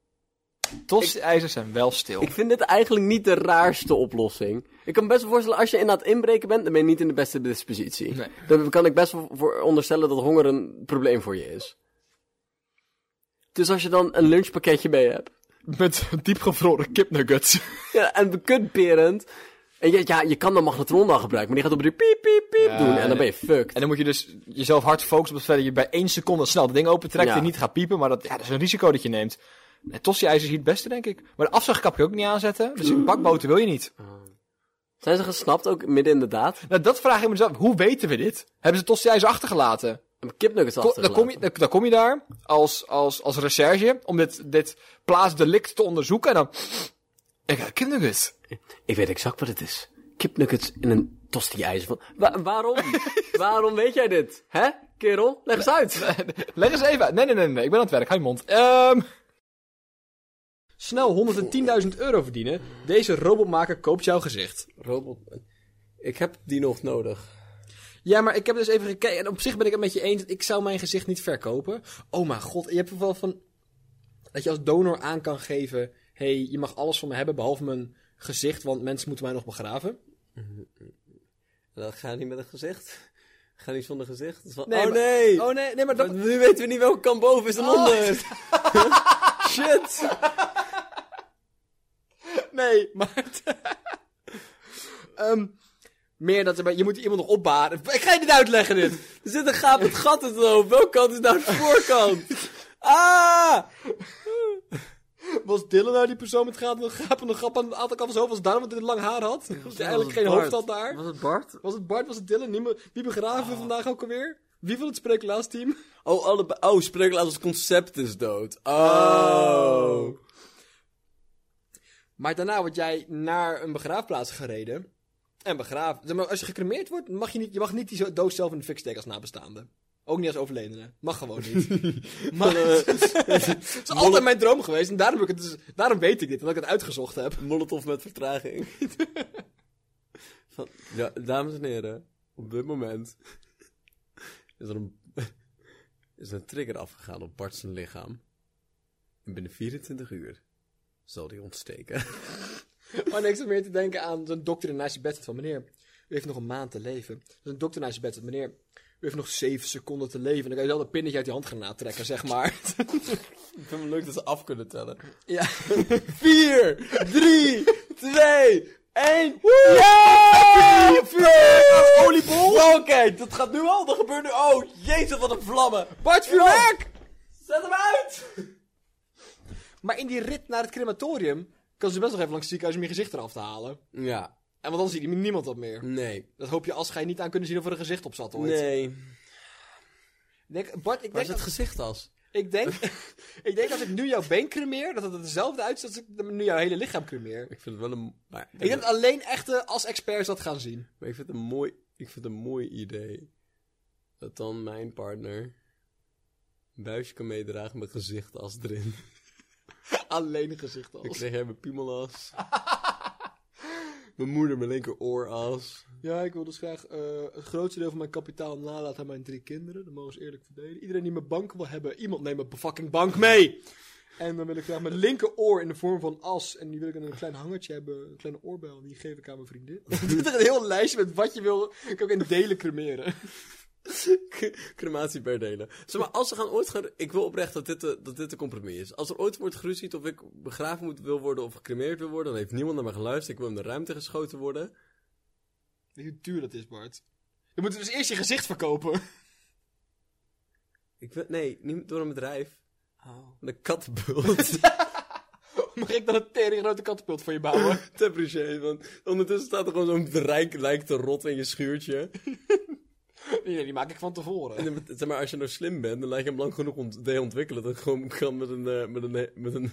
Tosti-ijzers zijn wel stil. Ik vind dit eigenlijk niet de raarste oplossing. Ik kan me best wel voorstellen, als je in aan het inbreken bent, dan ben je niet in de beste dispositie. Nee. Dan kan ik best wel voor onderstellen dat honger een probleem voor je is. Dus als je dan een lunchpakketje mee hebt, Met diepgevroren kipnuggets. Ja, en kutperend. En ja, ja, je kan dan magnetron dan gebruiken, maar die gaat op de piep, piep, piep Ja, doen. En dan ben je fucked. En dan moet je dus jezelf hard focussen op het feit dat je bij één seconde snel dat ding opentrekt Ja. en niet gaat piepen. Maar dat, ja, dat is een risico dat je neemt. En Tosti-ijzers is hier het beste, denk ik. Maar de afzuigkap ook niet aanzetten. Dus een bakboter wil je niet. Zijn ze gesnapt ook midden in de daad? Nou, dat vraag ik me dus af. Hoe weten we dit? Hebben ze Tosti-ijzer achtergelaten? Een kipnuggets Ko- dan, kom je, achtergelaten. dan, dan kom je daar als, als, als recherche om dit, dit plaatsdelict te onderzoeken. En dan... Ik heb kindergus. Ik weet exact wat het is. Kipnuggets in een tosti-ijzer. Van- Wa- waarom? waarom weet jij dit? Hè, kerel? Leg eens uit. Leg eens even uit. Nee, nee, nee, nee. Ik ben aan het werk. Hou je mond. Ehm. Snel 110.000 euro verdienen. Deze robotmaker koopt jouw gezicht. Robot. Ik heb die nog nodig. Ja, maar ik heb dus even gekeken. En op zich ben ik het met je eens. Ik zou mijn gezicht niet verkopen. Oh mijn god. Je hebt wel van... Dat je als donor aan kan geven... Hé, hey, je mag alles van me hebben behalve mijn gezicht. Want mensen moeten mij nog begraven. Dan ga niet met een gezicht. Ga niet zonder gezicht. Nee, maar- nee. Oh. Oh nee, nee, maar dat... Nu weten we niet welke kant boven is en onder. Shit. Nee, maar... Ehm, meer dat... er- Je moet iemand nog opbaren. Ik ga je dit uitleggen, dit. Er zit een gapend gat in het hoofd. Welke kant is nou de voorkant? Ah! Was Dylan nou die persoon met gapende gapende grap aan de achterkant van zijn hoofd? Was daarom dat hij lang haar had? Dat hij eigenlijk geen hoofd had daar? Was Ah. het Bart? Was het Bart? Was het Dylan? Niemand- Wie begraven we vandaag ook alweer? Wie wil het spreeklaas-team? Oh, allebei. Oh, spreeklaas als concept is dood. Oh. Oh. Maar daarna word jij naar een begraafplaats gereden. En begraven. Zeg maar, als je gecremeerd wordt, mag je niet, je mag niet die zo- doos zelf in de fik steken als nabestaande. Ook niet als overledene. Mag gewoon niet. maar, het is altijd mijn droom geweest. En daarom, heb ik het dus, daarom weet ik dit. Omdat ik het uitgezocht heb. Molotov met vertraging. Van, ja, dames en heren, op dit moment is er een, is er een trigger afgegaan op Bart zijn lichaam. En binnen 24 uur zal die ontsteken. Maar niks meer te denken aan zo'n dokter die naast je bed zit van meneer, u heeft nog een maand te leven. Dus een dokter naast je bed zit, meneer, u heeft nog zeven seconden te leven. En dan kan je wel dat pinnetje uit die handgranaat trekken, zeg maar. Ik vind het leuk dat ze af kunnen tellen. ja. 4, 3, 2, 1. Ja! Vuurwerk! Oliebol! Oké, dat gaat nu al. Dat gebeurt nu. Oh, jezus, wat een vlammen. Bart, vuurwerk! Zet hem uit! Maar in die rit naar het crematorium kan ze best nog even langs het ziekenhuis om je gezicht eraf te halen. Ja, En want dan ziet niemand dat meer. nee. Dat hoop je als ga je niet aan kunnen zien of er een gezicht op zat ooit. Nee. Ik denk, Bart, ik Waar denk, is het dat, gezicht als? ik, denk, ik denk als ik nu jouw been cremeer, dat het hetzelfde uitziet als ik nu jouw hele lichaam cremeer. Ik vind het wel een. Maar, Ik denk dat alleen echte als experts dat gaan zien. Maar ik vind het een mooi, ik vind het een mooi idee. Dat dan mijn partner een buisje kan meedragen met gezichtsas erin. Alleen gezicht Dan als. kreeg jij mijn piemelas. mijn moeder mijn linkerooras. Ja, ik wil dus graag eh, het grootste deel van mijn kapitaal nalaten aan mijn drie kinderen. Dat mogen ze eerlijk verdelen. Iedereen die mijn bank wil hebben, iemand neemt mijn fucking bank mee. En dan wil ik graag mijn linkeroor in de vorm van as. En die wil ik dan een klein hangertje hebben, een kleine oorbel. En die geef ik aan mijn vriendin. Dit is een heel lijstje met wat je wil. Ik kan ook in delen cremeren. K- Crematie per delen. Zeg maar, als ze gaan ooit gaan... Ik wil oprecht dat dit, de, dat dit de compromis is. Als er ooit wordt geruzied of ik begraven moet, wil worden of gecremeerd wil worden... dan heeft niemand naar me geluisterd. Ik wil in de ruimte geschoten worden. Weet je hoe duur dat is, Bart? Je moet dus eerst je gezicht verkopen. Ik wil, nee, niet door een bedrijf. Oh. Met een kattenbult. Mag ik dan een tering grote katapult voor je bouwen? Te precies, want ondertussen staat er gewoon zo'n rijk lijk te rot in je schuurtje. Nee, die maak ik van tevoren. En dan, zeg maar, als je nou slim bent, dan laat je hem lang genoeg ont de ontwikkelen. Dat gewoon kan met een... eh, met een, met een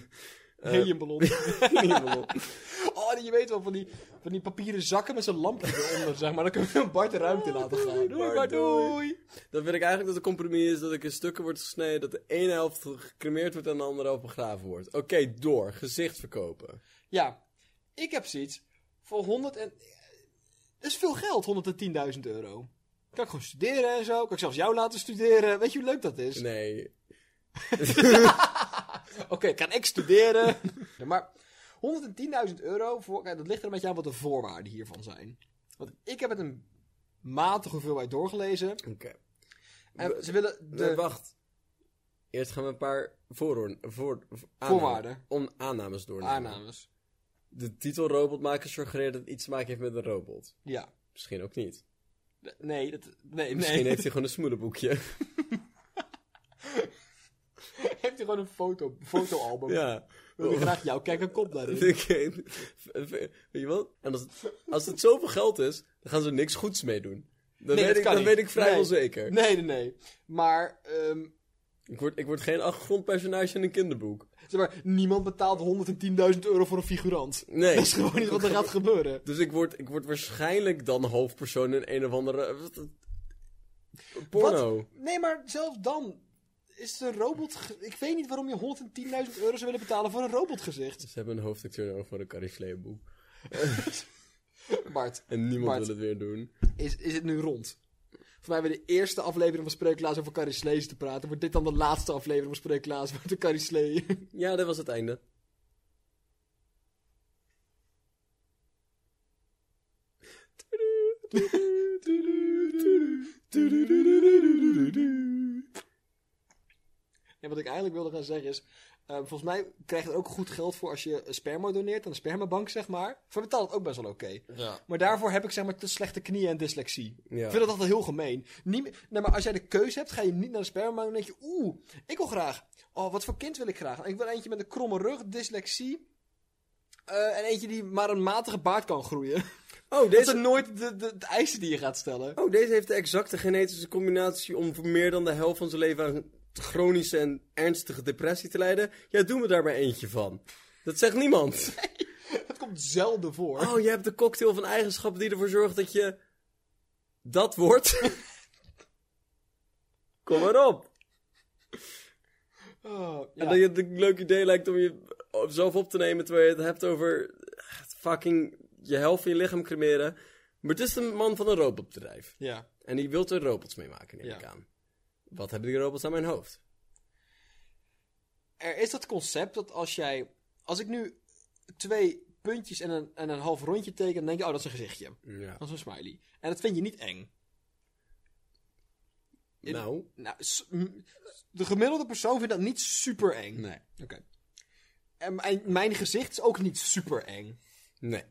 eh, Heliumballon. heliumballon. Oh, en je weet wel, van die, van die papieren zakken met zo'n lampje eronder, zeg maar. Dan kunnen we Bart de ruimte in laten gaan. Ah, doei, Doei, Bart, Bart, doei. Dan vind ik eigenlijk dat het compromis is dat ik in stukken word gesneden... dat de ene helft gecremeerd wordt en de andere helft begraven wordt. Oké, door. Gezicht verkopen. Ja, ik heb zoiets voor 100 en... Dat is veel geld, 110.000 euro. Kan ik gewoon studeren en zo. Kan ik zelfs jou laten studeren. Weet je hoe leuk dat is? Nee. Oké, kan ik studeren? Ja, maar 110.000 euro, voor, kijk, dat ligt er een beetje aan wat de voorwaarden hiervan zijn. Want ik heb het een matige hoeveelheid doorgelezen. Oké. En ze willen de... Nee, wacht. Eerst gaan we een paar voorhoorn- voor, voor, Voorwaarden. On, aannames doornemen. Aannames. De titel robotmaker suggereert dat het iets te maken heeft met een robot. Ja. Misschien ook niet. Nee, dat, nee, Misschien nee. heeft hij gewoon een smoelenboekje. Heeft hij gewoon een foto, fotoalbum? ja. Wil ik graag jou kijken kop daarin. Oké. Weet je wat? En als het, als het zoveel geld is, dan gaan ze er niks goeds mee doen. Nee, Dat, weet, dat ik, kan dat niet. weet ik vrijwel Nee. zeker. Nee, nee, nee. Maar, ehm, Ik, word, ik word geen achtergrondpersonage in een kinderboek. zeg maar, niemand betaalt 110.000 euro voor een figurant. Nee. Dat is gewoon niet wat er gaat gebeuren. Dus ik word, ik word waarschijnlijk dan hoofdpersoon in een of andere... wat- Porno. Wat? Nee, maar zelfs dan is de robot... ge- Ik weet niet waarom je 110.000 euro zou willen betalen voor een robotgezicht. Ze hebben een hoofdacteur nodig voor een Carrie Bart, En niemand Bart. wil het weer doen. is, is het nu rond? Voor mij hebben we de eerste aflevering van Spreeklaas over Carrie Slees te praten. Wordt dit dan de laatste aflevering van Spreeklaas over de Carrie Slee? Ja, dat was het einde. En wat ik eigenlijk wilde gaan zeggen is... eh, volgens mij krijg je er ook goed geld voor als je sperma doneert aan de spermabank, zeg maar. Voor betaalt het ook best wel oké. Ja. Maar daarvoor heb ik zeg maar te slechte knieën en dyslexie. Ja. Ik vind dat altijd heel gemeen. Niet, meer- nee, maar als jij de keuze hebt, ga je niet naar de spermabank en denk je... Oeh, ik wil graag... Oh, wat voor kind wil ik graag? Ik wil eentje met een kromme rug, dyslexie... eh, en eentje die maar een matige baard kan groeien. Oh, Dit deze, zijn nooit de, de, de eisen die je gaat stellen. oh, deze heeft de exacte genetische combinatie om voor meer dan de helft van zijn leven aan chronische en ernstige depressie te lijden. Ja, doen we daar maar eentje van. Dat zegt niemand. Dat komt zelden voor. Oh, je hebt de cocktail van eigenschappen die ervoor zorgt dat je dat wordt. Kom maar op. Oh, En ja. dat je het een leuk idee lijkt om jezelf op te nemen terwijl je het hebt over eh, fucking je helft van je lichaam cremeren. Maar het is een man van een robotbedrijf. ja. En die wil er robots mee maken, neem Ja. ik aan. Wat hebben die robots aan mijn hoofd? Er is dat concept dat als jij... Als ik nu twee puntjes en een, en een half rondje teken, dan denk je... Oh, dat is een gezichtje. Ja. Dat is een smiley. En dat vind je niet eng. In- Nou, Nou, s- m- de gemiddelde persoon vindt dat niet super eng. nee. Oké. En mijn, mijn gezicht is ook niet super eng. Nee.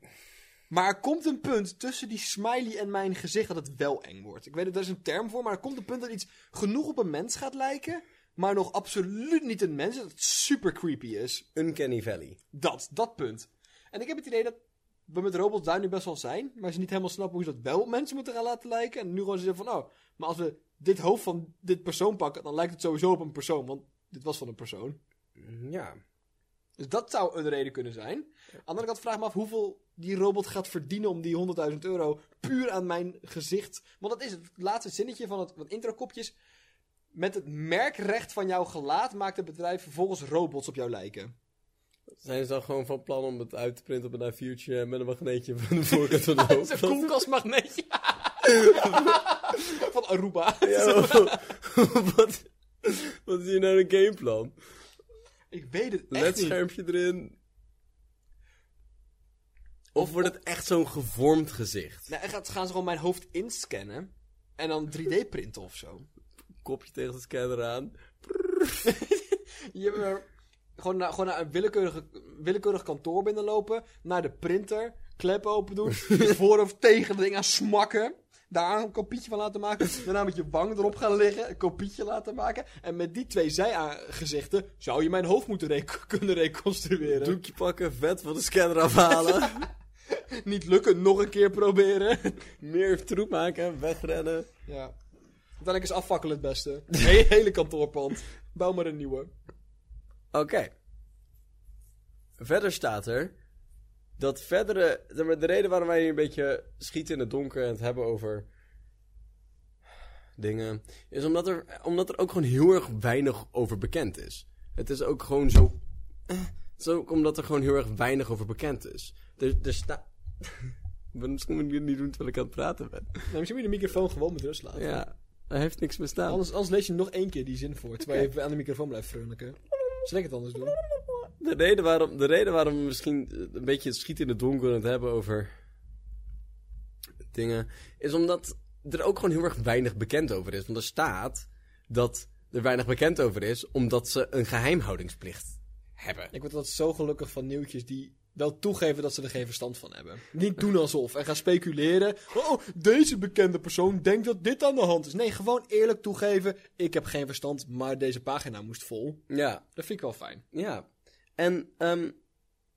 Maar er komt een punt tussen die smiley en mijn gezicht dat het wel eng wordt. Ik weet dat daar is een term voor, maar er komt een punt dat iets genoeg op een mens gaat lijken, maar nog absoluut niet een mens, dat het super creepy is. Uncanny Valley. Dat, dat punt. En ik heb het idee dat we met robots daar nu best wel zijn, maar ze niet helemaal snappen hoe ze dat wel op mensen moeten gaan laten lijken. En nu gewoon zeggen van, oh, maar als we dit hoofd van dit persoon pakken, dan lijkt het sowieso op een persoon, want dit was van een persoon. Ja. Dus dat zou een reden kunnen zijn. Aan de andere kant vraag ik me af hoeveel die robot gaat verdienen om die 100.000 euro puur aan mijn gezicht. Want dat is het laatste zinnetje van het, van het introkopje is... Met het merkrecht van jouw gelaat maakt het bedrijf vervolgens robots op jou lijken. Zijn ze dan gewoon van plan om het uit te printen op een A4'tje met een magneetje van de voorkant van de hoofd? Een koelkastmagnetje. van Aruba. Ja, wat, wat is hier nou een gameplan? Ik weet het echt Let niet. schermpje erin. Of wordt het echt zo'n gevormd gezicht? Nou, en gaat- gaan ze gewoon mijn hoofd inscannen. En dan 3D printen of zo. Kopje tegen de scanner aan. Je hebt er gewoon naar, gewoon naar een willekeurig, willekeurig kantoor binnenlopen, naar de printer, klep open doen, je voor of tegen de ding aan smakken. Daar een kopietje van laten maken. Daarna met je wang erop gaan liggen. Een kopietje laten maken. En met die twee zijgezichten zou je mijn hoofd moeten rec- kunnen reconstrueren. Doekje pakken, vet van de scanner afhalen. Niet lukken, nog een keer proberen. Meer troep maken, wegrennen. ja. Uiteindelijk is afvakkelen het beste. He- hele kantoorpand. Bouw maar een nieuwe. Oké. Verder staat er dat verdere. zeg maar, De reden waarom wij hier een beetje schieten in het donker en het hebben over dingen. Is omdat er, omdat er ook gewoon heel erg weinig over bekend is. Het is ook gewoon zo. eh, Het is ook omdat er gewoon heel erg weinig over bekend is. Er, er staat. Misschien moet ik dit niet doen terwijl ik aan het praten ben. Nou, misschien moet je de microfoon gewoon met rust laten. Ja, er heeft niks bestaan. Anders, anders lees je nog één keer die zin voor, terwijl je even aan de microfoon blijft vrolijken. Zal ik het anders doen? De reden waarom, de reden waarom we misschien eh, een beetje het schieten in het donker en het hebben over dingen, is omdat er ook gewoon heel erg weinig bekend over is. Want er staat dat er weinig bekend over is, omdat ze een geheimhoudingsplicht hebben. Ik word altijd zo gelukkig van nieuwtjes die wel toegeven dat ze er geen verstand van hebben. Niet doen alsof en gaan speculeren. Oh, deze bekende persoon denkt dat dit aan de hand is. Nee, gewoon eerlijk toegeven. Ik heb geen verstand, maar deze pagina moest vol. Ja, Dat vind ik wel fijn. ja. En, ehm,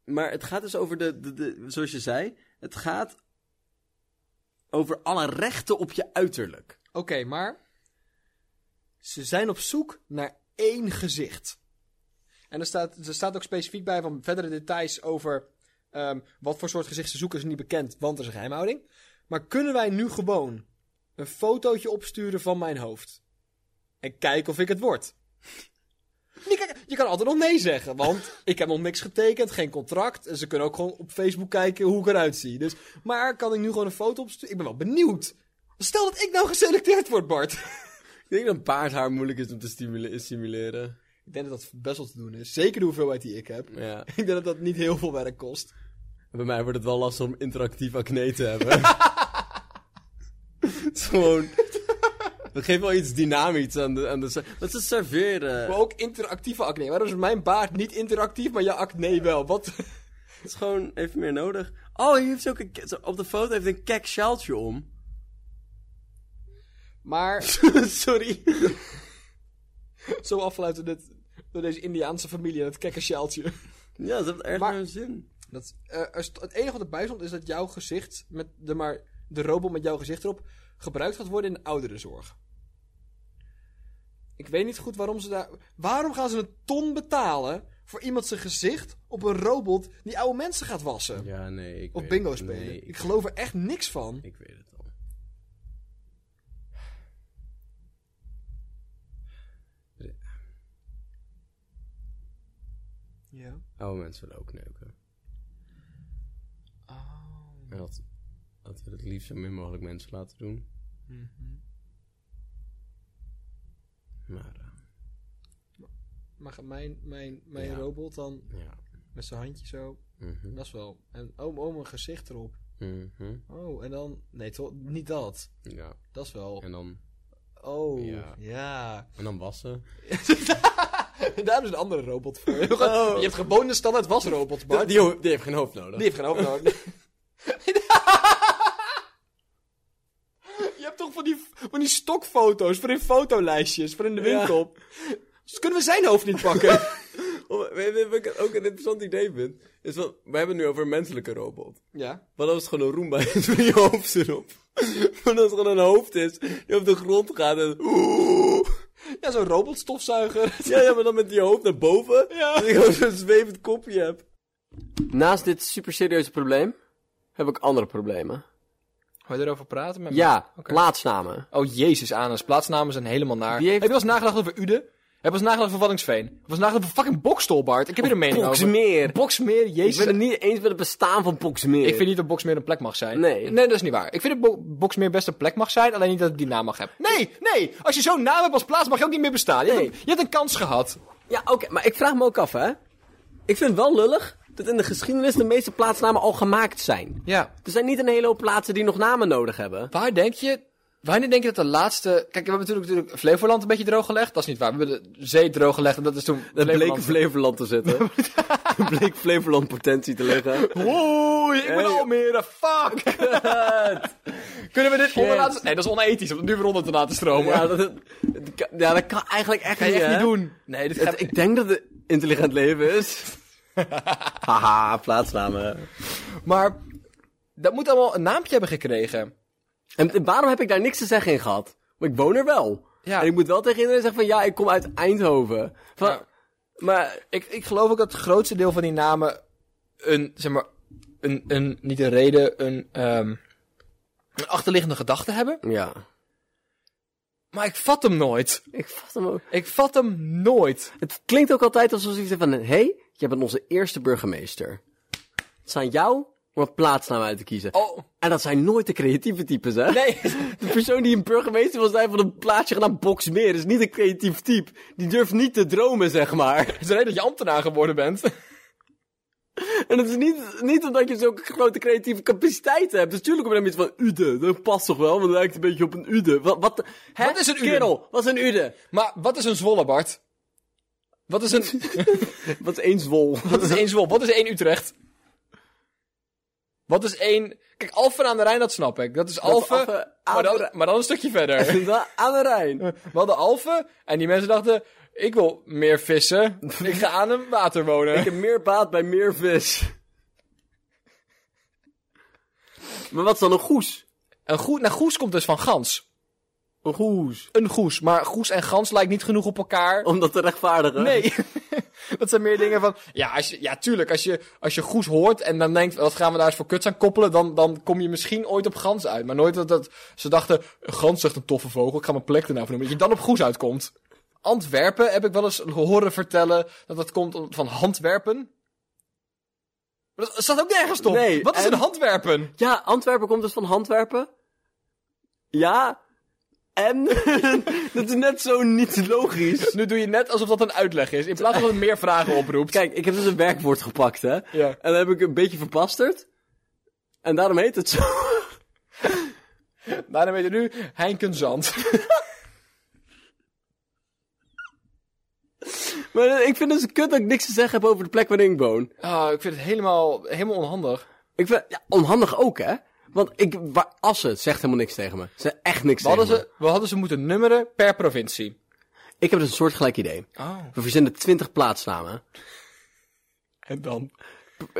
maar het gaat dus over de, de, de zoals je zei, het gaat over alle rechten op je uiterlijk. Oké, maar ze zijn op zoek naar één gezicht. En er staat, er staat ook specifiek bij van verdere details over ehm, wat voor soort gezicht ze zoeken is niet bekend, want er is een geheimhouding. Maar kunnen wij nu gewoon een fotootje opsturen van mijn hoofd? En kijken of ik het word? Je kan, je kan altijd nog nee zeggen, want ik heb nog niks getekend, geen contract. En ze kunnen ook gewoon op Facebook kijken hoe ik eruit zie. Dus, maar kan ik nu gewoon een foto opsturen? Ik ben wel benieuwd. Stel dat ik nou geselecteerd word, Bart. Ik denk dat paardhaar moeilijk is om te stimule- stimuleren. Ik denk dat dat best wel te doen is. Zeker de hoeveelheid die ik heb. Ja. Ik denk dat dat niet heel veel werk kost. Bij mij wordt het wel lastig om interactief acne te hebben. het is gewoon... Het geeft wel iets dynamisch aan de... Aan de dat is serveren. Maar ook interactieve acne. Waarom is mijn baard niet interactief, maar je acne wel? Wat? Het is gewoon even meer nodig. Oh, hier heeft ze ook een... ke- zo, Op de foto heeft een kek sjaaltje om. Maar Sorry. zo afgeleid door, dit, door deze Indiaanse familie, dat kekkersjaaltje. Ja, dat heeft erg Maar- naar hun zin. Dat, eh, er st- het enige wat erbij stond is dat jouw gezicht, met de, maar, de robot met jouw gezicht erop, gebruikt gaat worden in de ouderenzorg. Ik weet niet goed waarom ze daar... Waarom gaan ze een ton betalen voor iemand zijn gezicht op een robot die oude mensen gaat wassen? Ja, nee. Ik Of weet bingo het. spelen. Nee, ik geloof er echt niks van. Ik weet het al. Ja. Oude mensen willen ook neuken. Oh. En dat, dat we het liefst zo min mogelijk mensen laten doen. Maar, eh, Maar gaat mijn, mijn, mijn Ja. robot dan ja. met zijn handje zo? Mhm. Dat is wel. En oh, oh, mijn gezicht erop. Mhm. Oh, en dan... Nee, toch, niet dat. Ja. Dat is wel... En dan, Oh, Ja. ja. en dan wassen. Daar is een andere robot voor. Je hebt gewoon een standaard wasrobot, Die, Bart. die ho- die heeft geen hoofd nodig. Die heeft geen hoofd nodig. Je hebt toch van die, van die stokfoto's voor in fotolijstjes, voor in de Ja. winkel. Dus kunnen we zijn hoofd niet pakken? Oh, weet je wat ik ook een interessant idee vind? Is dat, we hebben het nu over een menselijke robot. ja. Wat als het gewoon een Roomba is met je hoofd erop? Wat als het gewoon een hoofd is die op de grond gaat en... Ja, zo'n robotstofzuiger. Ja, ja, maar dan met die hoofd naar boven. Ja. Dat ik gewoon zo'n zwevend kopje heb. Naast dit super serieuze probleem, heb ik andere problemen. Wil je erover praten met Ja, Oké. plaatsnamen. Oh jezus, Anus. Plaatsnamen zijn helemaal naar. Wie heeft- Heb je wel eens nagedacht over Ude? Heb je wel eens nagedacht over Waddingsveen? Heb je wel eens nagedacht over fucking Bokstel, Bart? Ik heb hier een mening over. Boksmeer. Boksmeer, Ik jezus. ben het niet eens met het bestaan van Boksmeer. Ik vind niet dat Boksmeer een plek mag zijn. Nee. Eh, Nee, dat is niet waar. Ik vind dat Bo- Boksmeer best een plek mag zijn, alleen niet dat het die naam mag hebben. Nee, nee. Als je zo'n naam hebt als plaats, mag je ook niet meer bestaan. Je, Nee. hebt, een, je hebt een kans gehad. Ja, oké, maar ik vraag me ook af, hè. Ik vind het wel lullig dat in de geschiedenis de meeste plaatsnamen al gemaakt zijn. Ja. Er zijn niet een hele hoop plaatsen die nog namen nodig hebben. Waar denk je... Wanneer denk je dat de laatste... Kijk, we hebben natuurlijk, natuurlijk Flevoland een beetje droog gelegd. Dat is niet waar. We hebben de zee droog gelegd en dat is toen... Dat bleek Flevoland- Flevoland te zitten. Dat bleek Flevoland potentie te liggen. Oei, ik ben Hey. Almere, fuck! Kunnen we dit onderlaten? Nee, dat is onethisch om het nu weer onder te laten stromen. Ja, dat, dat kan- ja, dat kan eigenlijk echt, je niet, echt hè? niet doen. Nee, dit gaat- ik denk dat het intelligent leven is. Haha, plaatsnamen. Maar dat moet allemaal een naampje hebben gekregen. En t- waarom heb ik daar niks te zeggen in gehad? Want ik woon er wel. Ja. En ik moet wel tegen iedereen zeggen van ja, ik kom uit Eindhoven. Van, Ja. Maar Ik, ik geloof ook dat het grootste deel van die namen een, zeg maar, een, een niet een reden, een, ehm, een achterliggende gedachte hebben. ja, Maar ik vat hem nooit. ik vat hem ook. Ik vat hem nooit. Het klinkt ook altijd alsof ze zeggen van hé, hey, jij bent onze eerste burgemeester. Het is aan jou om een plaatsnaam uit te kiezen. Oh, En dat zijn nooit de creatieve types, hè? nee. De persoon die een burgemeester wil zijn van een plaatsje genaamd Boksmeer is niet een creatief type. Die durft niet te dromen, zeg maar. Het is een reden dat je ambtenaar geworden bent. En het is niet, niet omdat je zulke grote creatieve capaciteiten hebt. Dus tuurlijk heb je dan iets van Ude. Dat past toch wel, want het lijkt een beetje op een Ude. Wat, wat, hè? Wat is een Ude? Kerel, wat is een Ude? Maar wat is een zwolle, Bart? Wat is een, Wat is één zwol? Wat is één Zwolle? Wat is één Utrecht? Wat is één... Kijk, Alphen aan de Rijn, dat snap ik. Dat is Alphen, Alphen aan maar, de dan, Rijn. maar dan een stukje verder. Aan de Rijn. We hadden Alphen en die mensen dachten... Ik wil meer vissen. Ik ga aan een water wonen. Ik heb meer baat bij meer vis. Maar wat is dan een goes? Een goe, nou, goes komt dus van gans. Een goes. Een goes. Maar goes en gans lijkt niet genoeg op elkaar. Om dat te rechtvaardigen. Nee. dat zijn meer dingen van. Ja, als je, ja tuurlijk. Als je, als je goes hoort en dan denkt. Wat gaan we daar eens voor kuts aan koppelen? Dan, dan kom je misschien ooit op gans uit. Maar nooit dat, dat ze dachten. Gans zegt een toffe vogel. Ik ga mijn plek ernaar vernoemen. Dat je dan op goes uitkomt. Antwerpen heb ik wel eens horen vertellen. Dat dat komt om- van handwerpen. Maar dat staat ook nergens op. Nee, wat is en- een handwerpen? Ja, Antwerpen komt dus van Handwerpen. Ja. En dat is net zo niet logisch. Nu doe je net alsof dat een uitleg is. In plaats van dat het meer vragen oproept. Kijk, ik heb dus een werkwoord gepakt, hè. Ja. En dat heb ik een beetje verpasterd. En daarom heet het zo. Daarna weet je nu Heinkenzand. Maar ik vind het dus kut dat ik niks te zeggen heb over de plek waar ik woon. Ah, ik vind het helemaal, helemaal onhandig. Ik vind, ja, onhandig ook, hè. Want ik, waar, Assen zegt helemaal niks tegen me. Ze echt niks We tegen hadden, me. ze, we hadden ze moeten nummeren per provincie. Ik heb dus een soortgelijk idee. Oh. We verzinnen 20 plaatsnamen. En dan?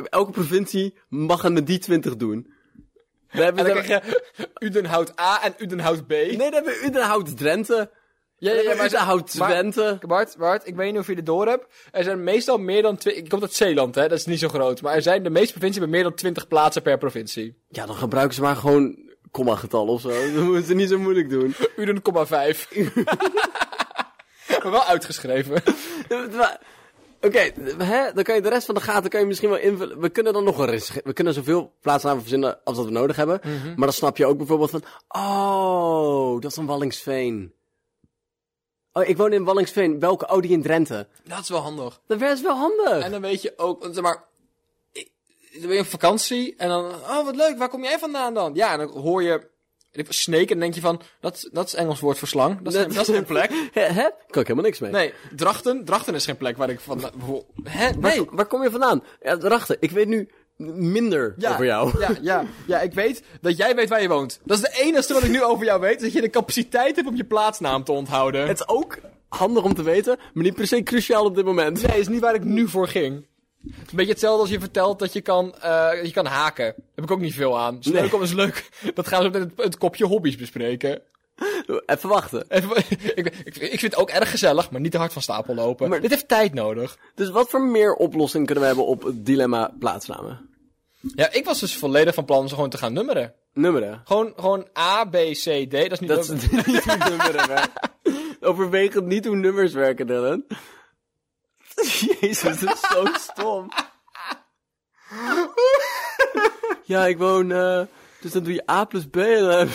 Elke provincie mag aan de die 20 doen. We En hebben, dan krijg je Udenhout A en Udenhout B. Nee, dan hebben we Udenhout-Drenthe. Ja, ja, ja, ja, maar- maar- Udenhout-Twente. Bart, Bart, ik weet niet of je dit door hebt. Er zijn meestal meer dan... twi- Ik kom uit Zeeland, hè. Dat is niet zo groot. Maar er zijn de meeste provincies hebben meer dan 20 plaatsen per provincie. Ja, dan gebruiken ze maar gewoon komma-getallen of zo. Dan moeten ze niet zo moeilijk doen. Uden, komma, vijf. maar wel uitgeschreven. Maar- Oké, hè, dan kan je de rest van de gaten kan je misschien wel invullen. We kunnen dan nog een res- We kunnen zoveel plaatsnamen verzinnen als dat we nodig hebben. Mhm. Maar dan snap je ook bijvoorbeeld van... Oh, dat is een Wallingsveen. Oh, ik woon in Wallingsveen. Welke? Oh, die in Drenthe. Dat is wel handig. Dat is wel handig. En dan weet je ook, want zeg maar, ik- dan ben je op vakantie en dan, oh wat leuk, waar kom jij vandaan dan? Ja, en dan hoor je snake en dan denk je van, dat, dat is Engels woord voor slang, dat is, geen- dat is geen plek. Hè? hè? Kan ik helemaal niks mee. Nee, drachten, drachten is geen plek waar ik van, eh, hè, Waar, nee. waar kom je vandaan? Ja, Drachten, ik weet nu minder over jou. Ja, ja, ja, ik weet dat jij weet waar je woont. Dat is de enige wat ik nu over jou weet, dat je de capaciteit hebt om je plaatsnaam te onthouden. Het is ook handig om te weten, maar niet per se cruciaal op dit moment. Nee, is niet waar ik nu voor ging. Het is een beetje hetzelfde als je vertelt dat je kan, eh, je kan haken. Daar heb ik ook niet veel aan. Is Nee. leuk, om- is leuk. Dat gaan we met het, het kopje hobby's bespreken. Even wachten. En we- ik, ik, ik vind het ook erg gezellig, maar niet te hard van stapel lopen. Maar- Dit heeft tijd nodig. Dus wat voor meer oplossing kunnen we hebben op het dilemma plaatsnamen? Ja, ik was dus volledig van plan om ze gewoon te gaan nummeren. Nummeren. Gewoon, gewoon A, B, C, D. Dat is niet Dat is nummer- niet hoe nummeren werken. Overweeg het niet hoe nummers werken, Dylan. Jezus, dat is zo stom. Ja, ik woon... eh, dus dan doe je A plus B eh, en dan heb-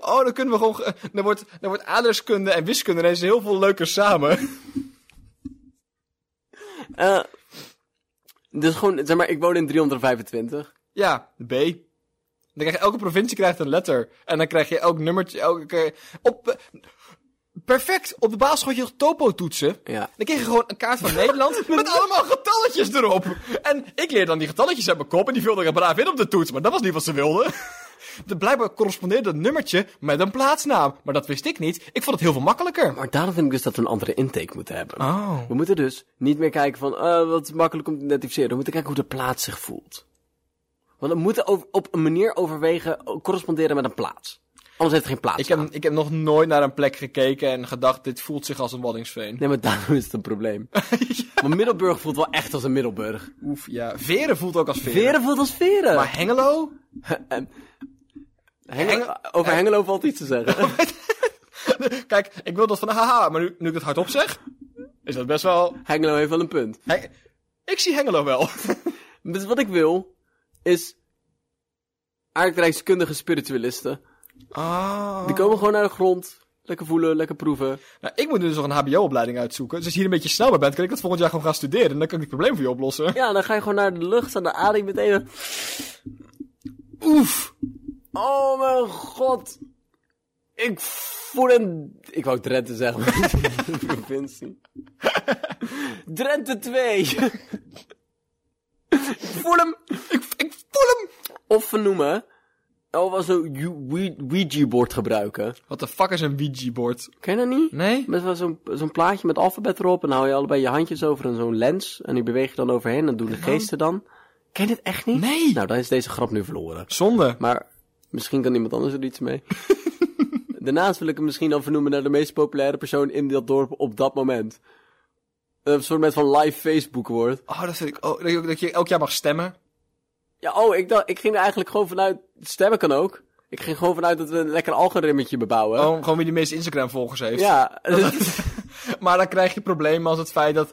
Oh, dan kunnen we gewoon... ge- Dan wordt, dan wordt aardrijkskunde en wiskunde ineens heel veel leuker samen. Eh, dus gewoon, zeg maar, ik woon in 325. Ja, B. Dan krijg je, elke provincie krijgt een letter. En dan krijg je elk nummertje, elke keer... Op, eh, perfect! Op de basisschool had je nog topo toetsen. Ja. Dan kreeg je gewoon een kaart van Nederland met allemaal getalletjes erop. En ik leer dan die getalletjes uit mijn kop en die vulde ik er braaf in op de toets. Maar dat was niet wat ze wilden. De, blijkbaar correspondeerde dat nummertje met een plaatsnaam. Maar dat wist ik niet. Ik vond het heel veel makkelijker. Maar daarom vind ik dus dat we een andere intake moeten hebben. Oh. We moeten dus niet meer kijken van, eh, wat is makkelijk om te identificeren. We moeten kijken hoe de plaats zich voelt. Want we moeten over- op een manier overwegen, eh, corresponderen met een plaats. Anders heeft het geen plaats. Ik heb, ik heb nog nooit naar een plek gekeken en gedacht, dit voelt zich als een waddingsveen. Nee, maar daarom is het een probleem. Want Middelburg voelt wel echt als een Middelburg. Oef, ja. Veren voelt ook als veren. Veren voelt als Veren. Maar Hengelo? En- Hengelo- Eh. Heng- over Hengelo valt iets te zeggen. Kijk, ik wil dat van haha, maar nu, nu ik het hardop zeg, is dat best wel... Hengelo heeft wel een punt. Heng- Ik zie Hengelo wel. Dus wat ik wil, is aardrijkskundige spiritualisten. Ah. Die komen gewoon naar de grond. Lekker voelen, lekker proeven. Nou, ik moet nu dus nog een hbo-opleiding uitzoeken. Dus als je hier een beetje snel bij bent, kan ik dat volgend jaar gewoon gaan studeren. En dan kan ik het probleem voor je oplossen. Ja, dan ga je gewoon naar de lucht, aan de adem meteen. een- Oef! Oh mijn god! Ik voel een... Ik wou Drenthe zeggen, maar de provincie. Drenthe 2! ik voel hem! Ik, ik voel hem! Of vernoemen. Of als een Ouija-bord gebruiken. Wat de fuck is een Ouija-bord? Ken je dat niet? Nee? Met wel zo'n zo'n plaatje met alfabet erop. En dan hou je allebei je handjes over en zo'n lens. En die beweeg je dan overheen. En doen de geesten dan. Ken je dit echt niet? Oh. Nee. Nou, dan is deze grap nu verloren. Zonde. Maar Misschien kan iemand anders er iets mee. Daarnaast wil ik hem misschien dan vernoemen naar de meest populaire persoon in dat dorp op dat moment. Dat het een soort met van live Facebook wordt. Oh, dat vind ik ook. Dat je, dat je elk jaar mag stemmen. Ja, oh, ik, dacht, ik ging er eigenlijk gewoon vanuit... Stemmen kan ook. Ik ging gewoon vanuit dat we een lekker algoritmetje bebouwen. Gewoon, gewoon wie de meeste Instagram-volgers heeft. Ja, Maar dan krijg je problemen als het feit dat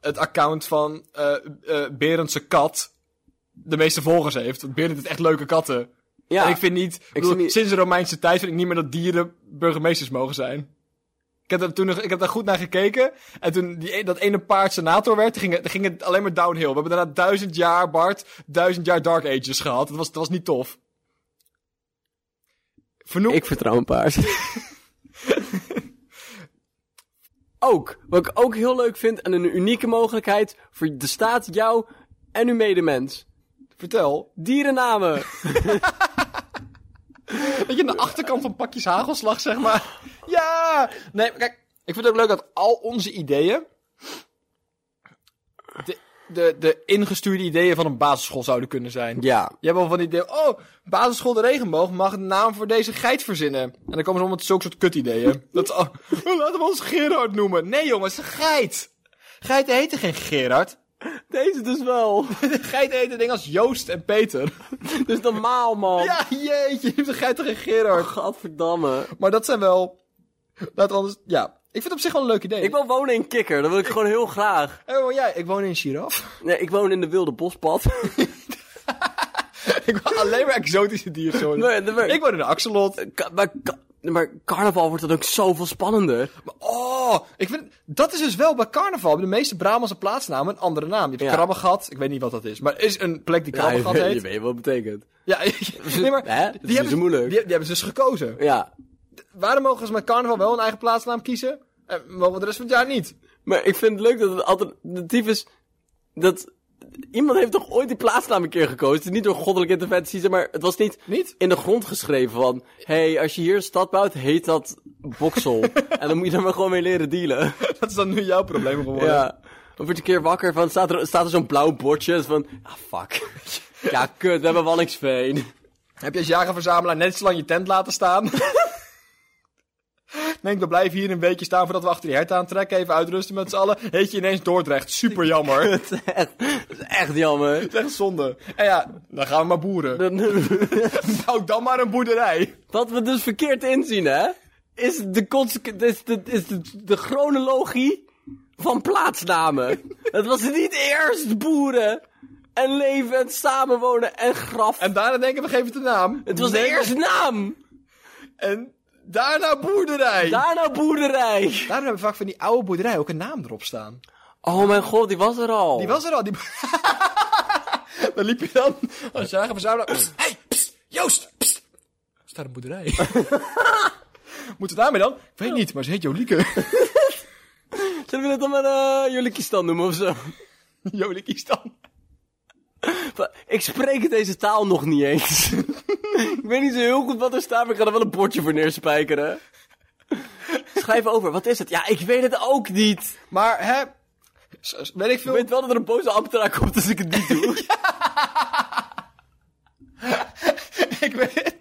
het account van eh eh, Berendse kat de meeste volgers heeft. Want Berend heeft echt leuke katten. ja. En ik vind niet, ik bedoel, zie niet- sinds de Romeinse tijd vind ik niet meer dat dieren burgemeesters mogen zijn. Ik heb, er toen, nog- ik heb daar goed naar gekeken. En toen die, e- dat ene paard senator werd, ging, het- ging het alleen maar downhill. We hebben daarna duizend jaar Bart, duizend jaar Dark Ages gehad. Dat was, dat was niet tof. Vernoem... Ik vertrouw een paard. ook, wat ik ook heel leuk vind en een unieke mogelijkheid voor de staat, jou en uw medemens. Vertel. Dierennamen. Dat je aan de achterkant van pakjes hagelslag, zeg maar. Ja! Nee, maar kijk, ik vind het ook leuk dat al onze ideeën. De, de, de ingestuurde ideeën van een basisschool zouden kunnen zijn. ja. Je hebt wel van die ideeën. Oh, basisschool de regenboog mag een naam voor deze geit verzinnen. En dan komen ze om met zulke soort kutideeën. Dat, oh, laten we ons Gerard noemen. Nee, jongens, een geit. Geiten heten geen Gerard. Deze dus wel. Geiten heten dingen als Joost en Peter. dus normaal, man. Ja, jeetje, je hebt een geit tegen Gerard. Gadverdamme. Maar dat zijn wel. Laat anders. Ja, ik vind het op zich wel een leuk idee. Ik wil wonen in Kikker, dat wil ik gewoon heel graag. Oh ja, ik woon in Giraf. Nee, ik woon in de wilde bospad. ik wil alleen maar exotische diersoorten. Nee, dat werkt. Ik woon in een axolot. Ka- maar, ka- maar carnaval wordt dan ook zoveel spannender. Maar Oh, ik vind, dat is dus wel bij carnaval. Bij de meeste Brabantse plaatsnamen een andere naam. Je hebt Ja. Krabbegat. Ik weet niet wat dat is. Maar er is een plek die Krabbegat je, heet. weet wat het betekent. Ja, nee, maar Hè? Dat is hebben, ze- moeilijk. Die, die hebben ze dus gekozen. Ja, Waarom mogen ze met carnaval wel een eigen plaatsnaam kiezen? En mogen we de rest van het jaar niet? Maar ik vind het leuk dat het alternatief is dat... Iemand heeft toch ooit die plaatsnaam een keer gekozen? Het is niet door goddelijke interventie, zeg maar het was niet, Niet? in de grond geschreven van... hey, als je hier een stad bouwt, heet dat Boksel. en dan moet je daar maar gewoon mee leren dealen. Dat is dan nu jouw probleem geworden. ja. Of word je een keer wakker van, staat er, staat er zo'n blauw bordje en is van... Ah, fuck. ja, kut, we hebben Wallingsveen. Heb je als jagerverzamelaar net zo lang je tent laten staan? Denk, we blijven hier een weekje staan voordat we achter die hert aantrekken. Even uitrusten met z'n allen. Heet je ineens Dordrecht. Super jammer. Het Het is echt, dat is echt jammer. is echt zonde. En ja, dan gaan we maar boeren. Bouw Nou, dan maar een boerderij. Wat we dus verkeerd inzien, hè? Is de, consequ- is de, is de, de chronologie van plaatsnamen. Het was niet eerst boeren en leven en samenwonen en graf. En daarna denken we, geven het een naam. het was Nee, eerst naam, En daarna boerderij. daarna boerderij. Daarom hebben we vaak van die oude boerderij ook een naam erop staan. Oh mijn god, die was er al. Die was er al. Die... dan liep je dan Oh, als jagerverzamelaar. Psst, hey, psst, Joost, psst. Is daar een boerderij? Moeten we daarmee dan? Ik weet niet, maar ze heet Jolieke. Zullen we het dan maar eh Jolikistan noemen of zo? Jolieke is dan. Ik spreek deze taal nog niet eens. ik weet niet zo heel goed wat er staat, maar ik ga er wel een bordje voor neerspijkeren. Schrijf over, wat is het? Ja, ik weet het ook niet. Maar hè, s- s- weet ik Ik veel. weet wel dat er een boze ambtenaar komt als ik het niet doe. ik, weet,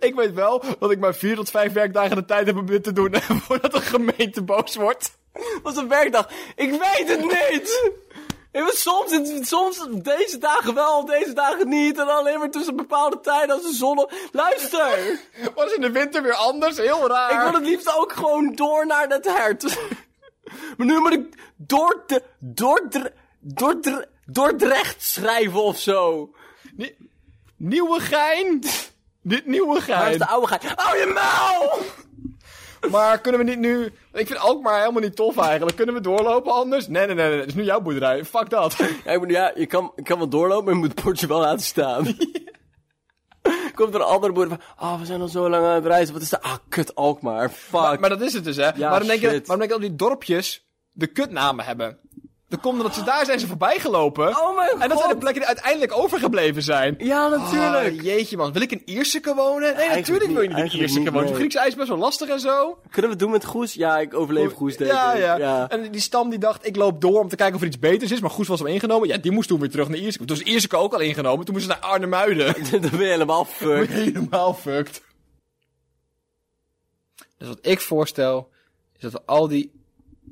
ik weet wel dat ik maar vier tot vijf werkdagen de tijd heb om dit te doen voordat de gemeente boos wordt. was een werkdag. Ik weet het niet! Ik was soms, soms deze dagen wel, deze dagen niet. En alleen maar tussen bepaalde tijden als de zon... op- Luister! Was in de winter weer anders, heel raar. Ik wil het liefst ook gewoon door naar dat hert. maar nu moet ik door de, door de, door de, Dordrecht schrijven of zo. Nie- Nieuwe gein. Dit nieuwe gein. Waar is de oude geit? Oh, je muil! Maar kunnen we niet nu... Ik vind Alkmaar helemaal niet tof eigenlijk. Kunnen we doorlopen anders? Nee, nee, nee, nee. Het is nu jouw boerderij. Fuck dat. Ja, ik bedoel, ja, je kan, je kan wel doorlopen, maar je moet het bordje wel laten staan. Komt er een andere boer van, ah, we zijn al zo lang aan het reizen, wat is dat? Ah, kut, Alkmaar, fuck. Maar dat is het dus, hè. waarom, denk je, shit. waarom denk je dat die dorpjes de kutnamen hebben? Dat komt omdat ze daar zijn ze voorbij gelopen. Oh mijn en dat zijn de god. plekken die uiteindelijk overgebleven zijn. Ja, natuurlijk. Ah, jeetje man, wil ik in Ierseke wonen? Nee, natuurlijk wil je niet in eigenlijk Ierseke niet, wonen. nee. Griekse ijs is best wel lastig en zo. Ah, Kunnen we het doen met Goes? Ja, ik overleef Goes, denk ja, ik. ja, ja. En die stam die dacht, ik loop door om te kijken of er iets beters is. Maar Goes was al ingenomen. Ja, die moest toen weer terug naar Ierseke. Toen was Ierseke ook al ingenomen. Toen moesten ze naar Arnhemuiden. Dan ben je helemaal fucked. Helemaal fucked. Dus wat ik voorstel, is dat we al die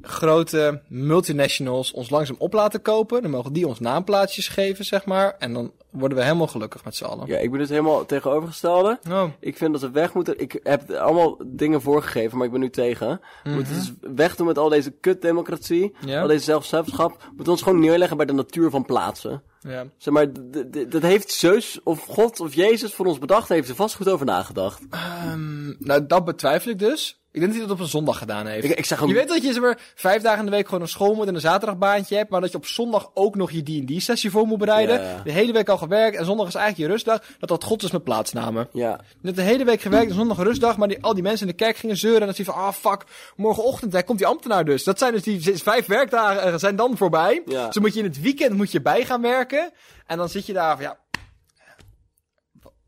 grote multinationals ons langzaam op laten kopen. Dan mogen die ons naamplaatsjes geven, zeg maar. En dan worden we helemaal gelukkig met z'n allen. Ja, ik ben dus helemaal het tegenovergestelde. Oh. Ik vind dat we weg moeten. Ik heb allemaal dingen voorgegeven, maar ik ben nu tegen. We moeten dus weg doen met al deze kutdemocratie. Mhm. Ja. Al deze zelfzuiverschap. We moeten ons gewoon neerleggen bij de natuur van plaatsen. Ja. Zeg maar, d- d- dat heeft Zeus of God of Jezus voor ons bedacht. Daar heeft er vast goed over nagedacht. Ehm, nou, dat betwijfel ik dus. Ik denk dat hij dat op een zondag gedaan heeft. Ik, ik zag Je hem. weet dat je zeg maar, vijf dagen in de week gewoon naar school moet en een zaterdagbaantje hebt, maar dat je op zondag ook nog je D&D-sessie voor moet bereiden. Ja. De hele week al gewerkt en zondag is eigenlijk je rustdag. Dat dat God is met plaatsnamen. Ja. Je hebt de hele week gewerkt en zondag een rustdag, maar die, al die mensen in de kerk gingen zeuren en dan zie je van, ah fuck, morgenochtend hè, komt die ambtenaar dus. Dat zijn dus die z- vijf werkdagen eh, zijn dan voorbij. Ja. Dus dan moet je in het weekend moet je bij gaan werken en dan zit je daar van, ja...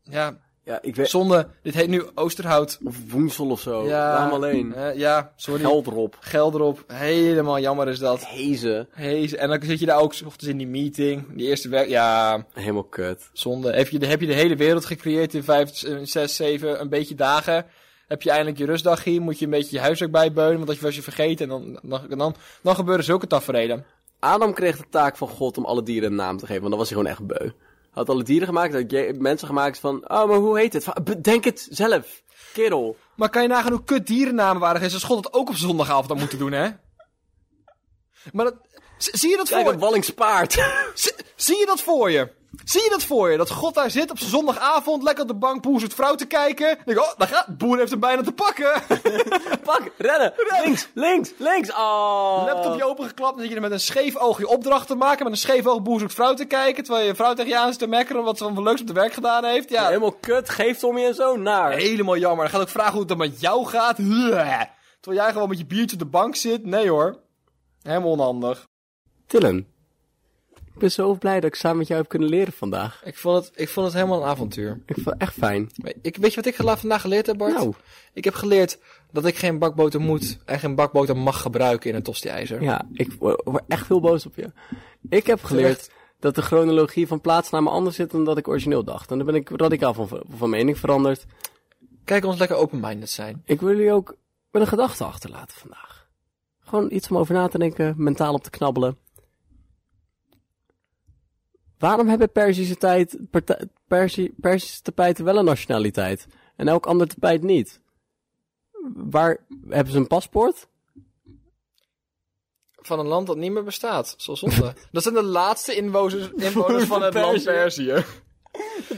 Ja, ja, ik weet. zonde. Dit heet nu Oosterhout. Of Woensel of zo. Ja. Daarom Oh, alleen. Eh, ja, sorry. Geld erop. Geld erop. Helemaal jammer is dat. Hezen. Hees. En dan zit je daar ook 's ochtends in die meeting. Die eerste werk. Ja, Helemaal kut. zonde. Heb je, de, heb je de hele wereld gecreëerd in vijf, eh, zes, zeven, een beetje dagen. Heb je eindelijk je rustdagje. Moet je een beetje je huiswerk bijbeunen. Want als je was je vergeten. En dan, dan, dan, dan gebeuren zulke tafereelen. Adam kreeg de taak van God om alle dieren een naam te geven, want dan was hij gewoon echt beu. Hij had alle dieren gemaakt, hij had je- mensen gemaakt van, oh, maar hoe heet het? Van, Bedenk het zelf, kerel. Maar kan je nagaan hoe kut dierennamen waren geweest. Als God het ook op zondagavond had moeten doen, hè? Maar dat, z- zie je dat Kijk, voor dat wallingspaard. Z- zie je dat voor je? Zie je dat voor je? Dat God daar zit op zijn zondagavond, lekker op de bank poes het vrouw te kijken. Dan denk ik, oh, daar gaat, boer heeft hem bijna te pakken. Pak, rennen, links, links, links. Oh. Laptopje opengeklapt, dan zit je er met een scheef oog je opdracht te maken. Met een scheef oog boer zoekt vrouw te kijken, terwijl je vrouw tegen je aan zit te mekkeren wat ze van leuks op de werk gedaan heeft. Ja, helemaal, Helemaal kut, geeft om je en zo, naar. jammer. Dan gaat ook vragen hoe het dan met jou gaat. Bleh. Terwijl jij gewoon met je biertje op de bank zit. Nee hoor, helemaal onhandig. Tillen, ik ben zo blij dat ik samen met jou heb kunnen leren vandaag. Ik vond het, ik vond het helemaal een avontuur. Ik vond het echt fijn. Maar Ik, weet je wat ik gela- vandaag geleerd heb, Bart? Nou. Ik heb geleerd dat ik geen bakboter moet en geen bakboter mag gebruiken in een tosti-ijzer. Ja, ik wo- word echt veel boos op je. Ik heb geleerd dat de chronologie van plaatsnamen anders zit dan dat ik origineel dacht. En daar ben ik radicaal van, van mening veranderd. Kijk ons lekker open-minded zijn. Ik wil jullie ook met een gedachte achterlaten vandaag. Gewoon iets om over na te denken, mentaal op te knabbelen. Waarom hebben Perzische, tijd, parta- Perzi- Perzische tapijten wel een nationaliteit? En elk ander tapijt niet? Waar hebben ze een paspoort? Van een land dat niet meer bestaat, zoals zonde. dat zijn de laatste inwoners, inwoners van het land Perzië.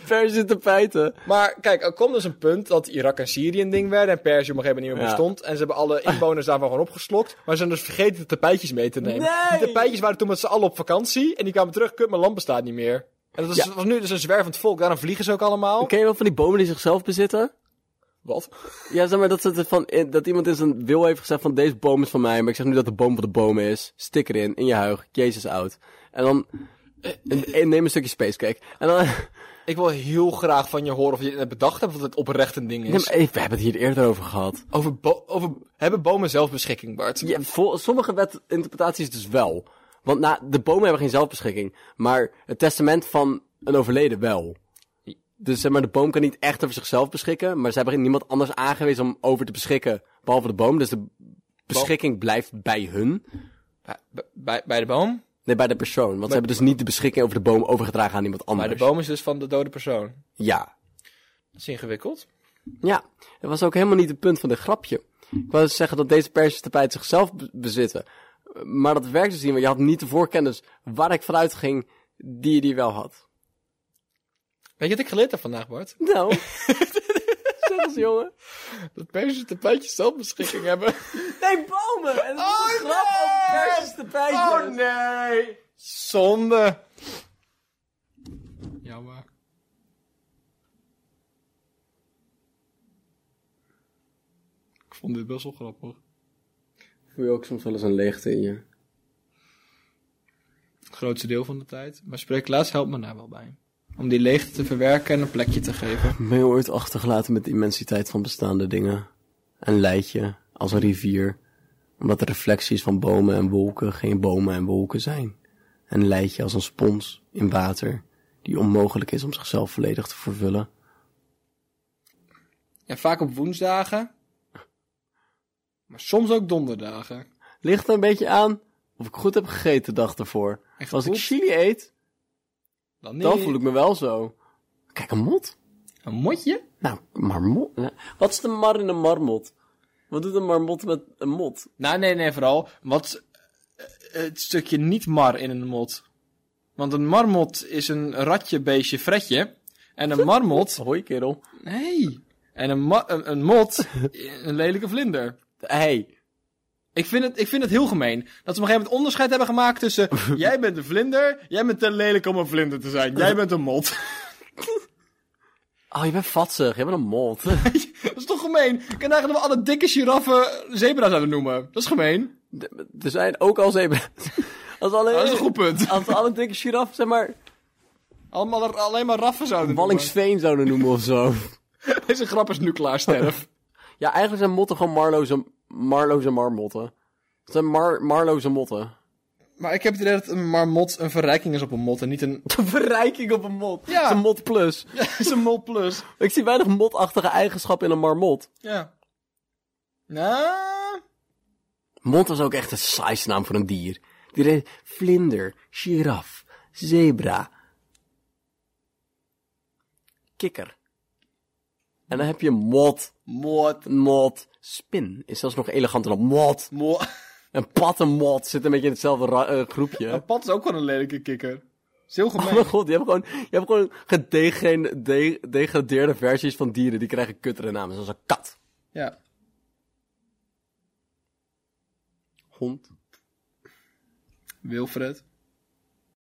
Perzische tapijten. Maar kijk, er komt dus een punt dat Irak en Syrië een ding werden en Perzië op een gegeven moment niet meer Ja. bestond. En ze hebben alle inwoners daarvan gewoon opgeslokt. Maar ze zijn dus vergeten de tapijtjes mee te nemen. Nee! Die tapijtjes waren toen met z'n allen op vakantie en die kwamen terug, kut, mijn land bestaat niet meer. En dat is, was nu dus een zwervend volk, daarom vliegen ze ook allemaal. Ken je wel van die bomen die zichzelf bezitten? Oh. Wat? Ja, zeg maar dat, ze het van, in- dat iemand in zijn wil heeft gezegd van deze boom is van mij, maar ik zeg nu dat de boom van de bomen is. Stik erin, in je huig, Jezus oud. En dan en- en neem een stukje spacecake. En dan, Ik wil heel graag van je horen of je het net bedacht hebt of het oprecht een ding Ja, is. maar even, we hebben het hier eerder over gehad. over, bo- over hebben bomen zelfbeschikking, Bart? Ja, vol- sommige wetinterpretaties dus wel. Want na, de bomen hebben geen zelfbeschikking, maar het testament van een overleden wel. Dus zeg maar, de boom kan niet echt over zichzelf beschikken, maar ze hebben niemand anders aangewezen om over te beschikken, behalve de boom. Dus de beschikking blijft bij hun. Bij, bij, bij de boom? Nee, bij de persoon. Want ze hebben dus niet de beschikking over de boom overgedragen aan iemand Bij anders. de boom is dus van de dode persoon. Ja. Dat is ingewikkeld. Ja. Dat was ook helemaal niet het punt van dit grapje. Ik wou dus zeggen dat deze persische tapijt zichzelf be- bezitten. Maar dat werkt dus niet, want je had niet de voorkennis waar ik vanuit ging die je die wel had. Weet je wat ik geleerd heb vandaag, Bart? Nou. zeg eens, jongen. Dat mensen de pleitjes zelfbeschikking hebben. Nee, bomen! En dat is een grap over persische tapijtjes. Oh, Oh, nee! Zonde! Jammer. Ik vond dit best wel grappig. Voel je ook soms wel eens een leegte in je? grootste deel van de tijd. Maar spreeklaas helpt me daar wel bij. Om die leegte te verwerken en een plekje te geven. Mail ooit achtergelaten met de immensiteit van bestaande dingen. Een leidje, als een rivier. Omdat de reflecties van bomen en wolken geen bomen en wolken zijn. Een leidje als een spons in water, die onmogelijk is om zichzelf volledig te vervullen. Ja, vaak op woensdagen. Maar soms ook donderdagen. Ligt er een beetje aan of ik goed heb gegeten de dag ervoor. Echt Als ik goed? chili eet, Dan, niet. dan voel ik me wel zo. Kijk, een mot. Een motje? Nou, marmot. ja. Wat is de mar in een marmot? Wat doet een marmot met een mot? Nou, nee, nee, vooral. Wat eh, het stukje niet-mar in een mot. Want een marmot is een ratje, beestje, fretje. En een marmot... Hoi, kerel. Nee. En een, ma- een, een mot, een lelijke vlinder. Hey, Ik vind, het, ik vind het heel gemeen. Dat ze op een gegeven moment onderscheid hebben gemaakt tussen... jij bent een vlinder, jij bent te lelijk om een vlinder te zijn. Jij bent een mot. oh, je bent vatsig. Je bent een mot. dat is toch gemeen? Ik kan eigenlijk nog wel alle dikke giraffen zebra's zouden noemen. Dat is gemeen. De- Er zijn ook al zebra's. Als alleen, Dat is een goed punt. Als alle dikke giraffen, zeg maar, Allemaal, alleen maar raffen zouden noemen. Wallingsveen zouden noemen of zo. Deze grap is nu klaar, sterf. Ja, eigenlijk zijn motten gewoon Marlo's en, Marlo's en marmotten. Het zijn mar, Marlo's en motten. maar ik heb het idee dat een marmot een verrijking is op een mot en niet een... De verrijking op een mot. Ja. Ja. Het is een mot plus. Het is een mot plus. Ik zie weinig motachtige eigenschappen in een marmot. Ja. Nou... Mot was ook echt een saisnaam voor een dier. Die reed vlinder, giraf, zebra, kikker. En dan heb je mot, Mot. mot, spin. Is zelfs nog eleganter dan mot. Mot. Een pad en mot zitten een beetje in hetzelfde ra- eh, groepje. Een pad is ook wel een lelijke kikker. is heel Oh gemeen. mijn god, je hebt gewoon, je hebt gewoon gedegradeerde versies van dieren. Die krijgen kuttere namen, zoals een kat. Ja. Hond. Wilfred.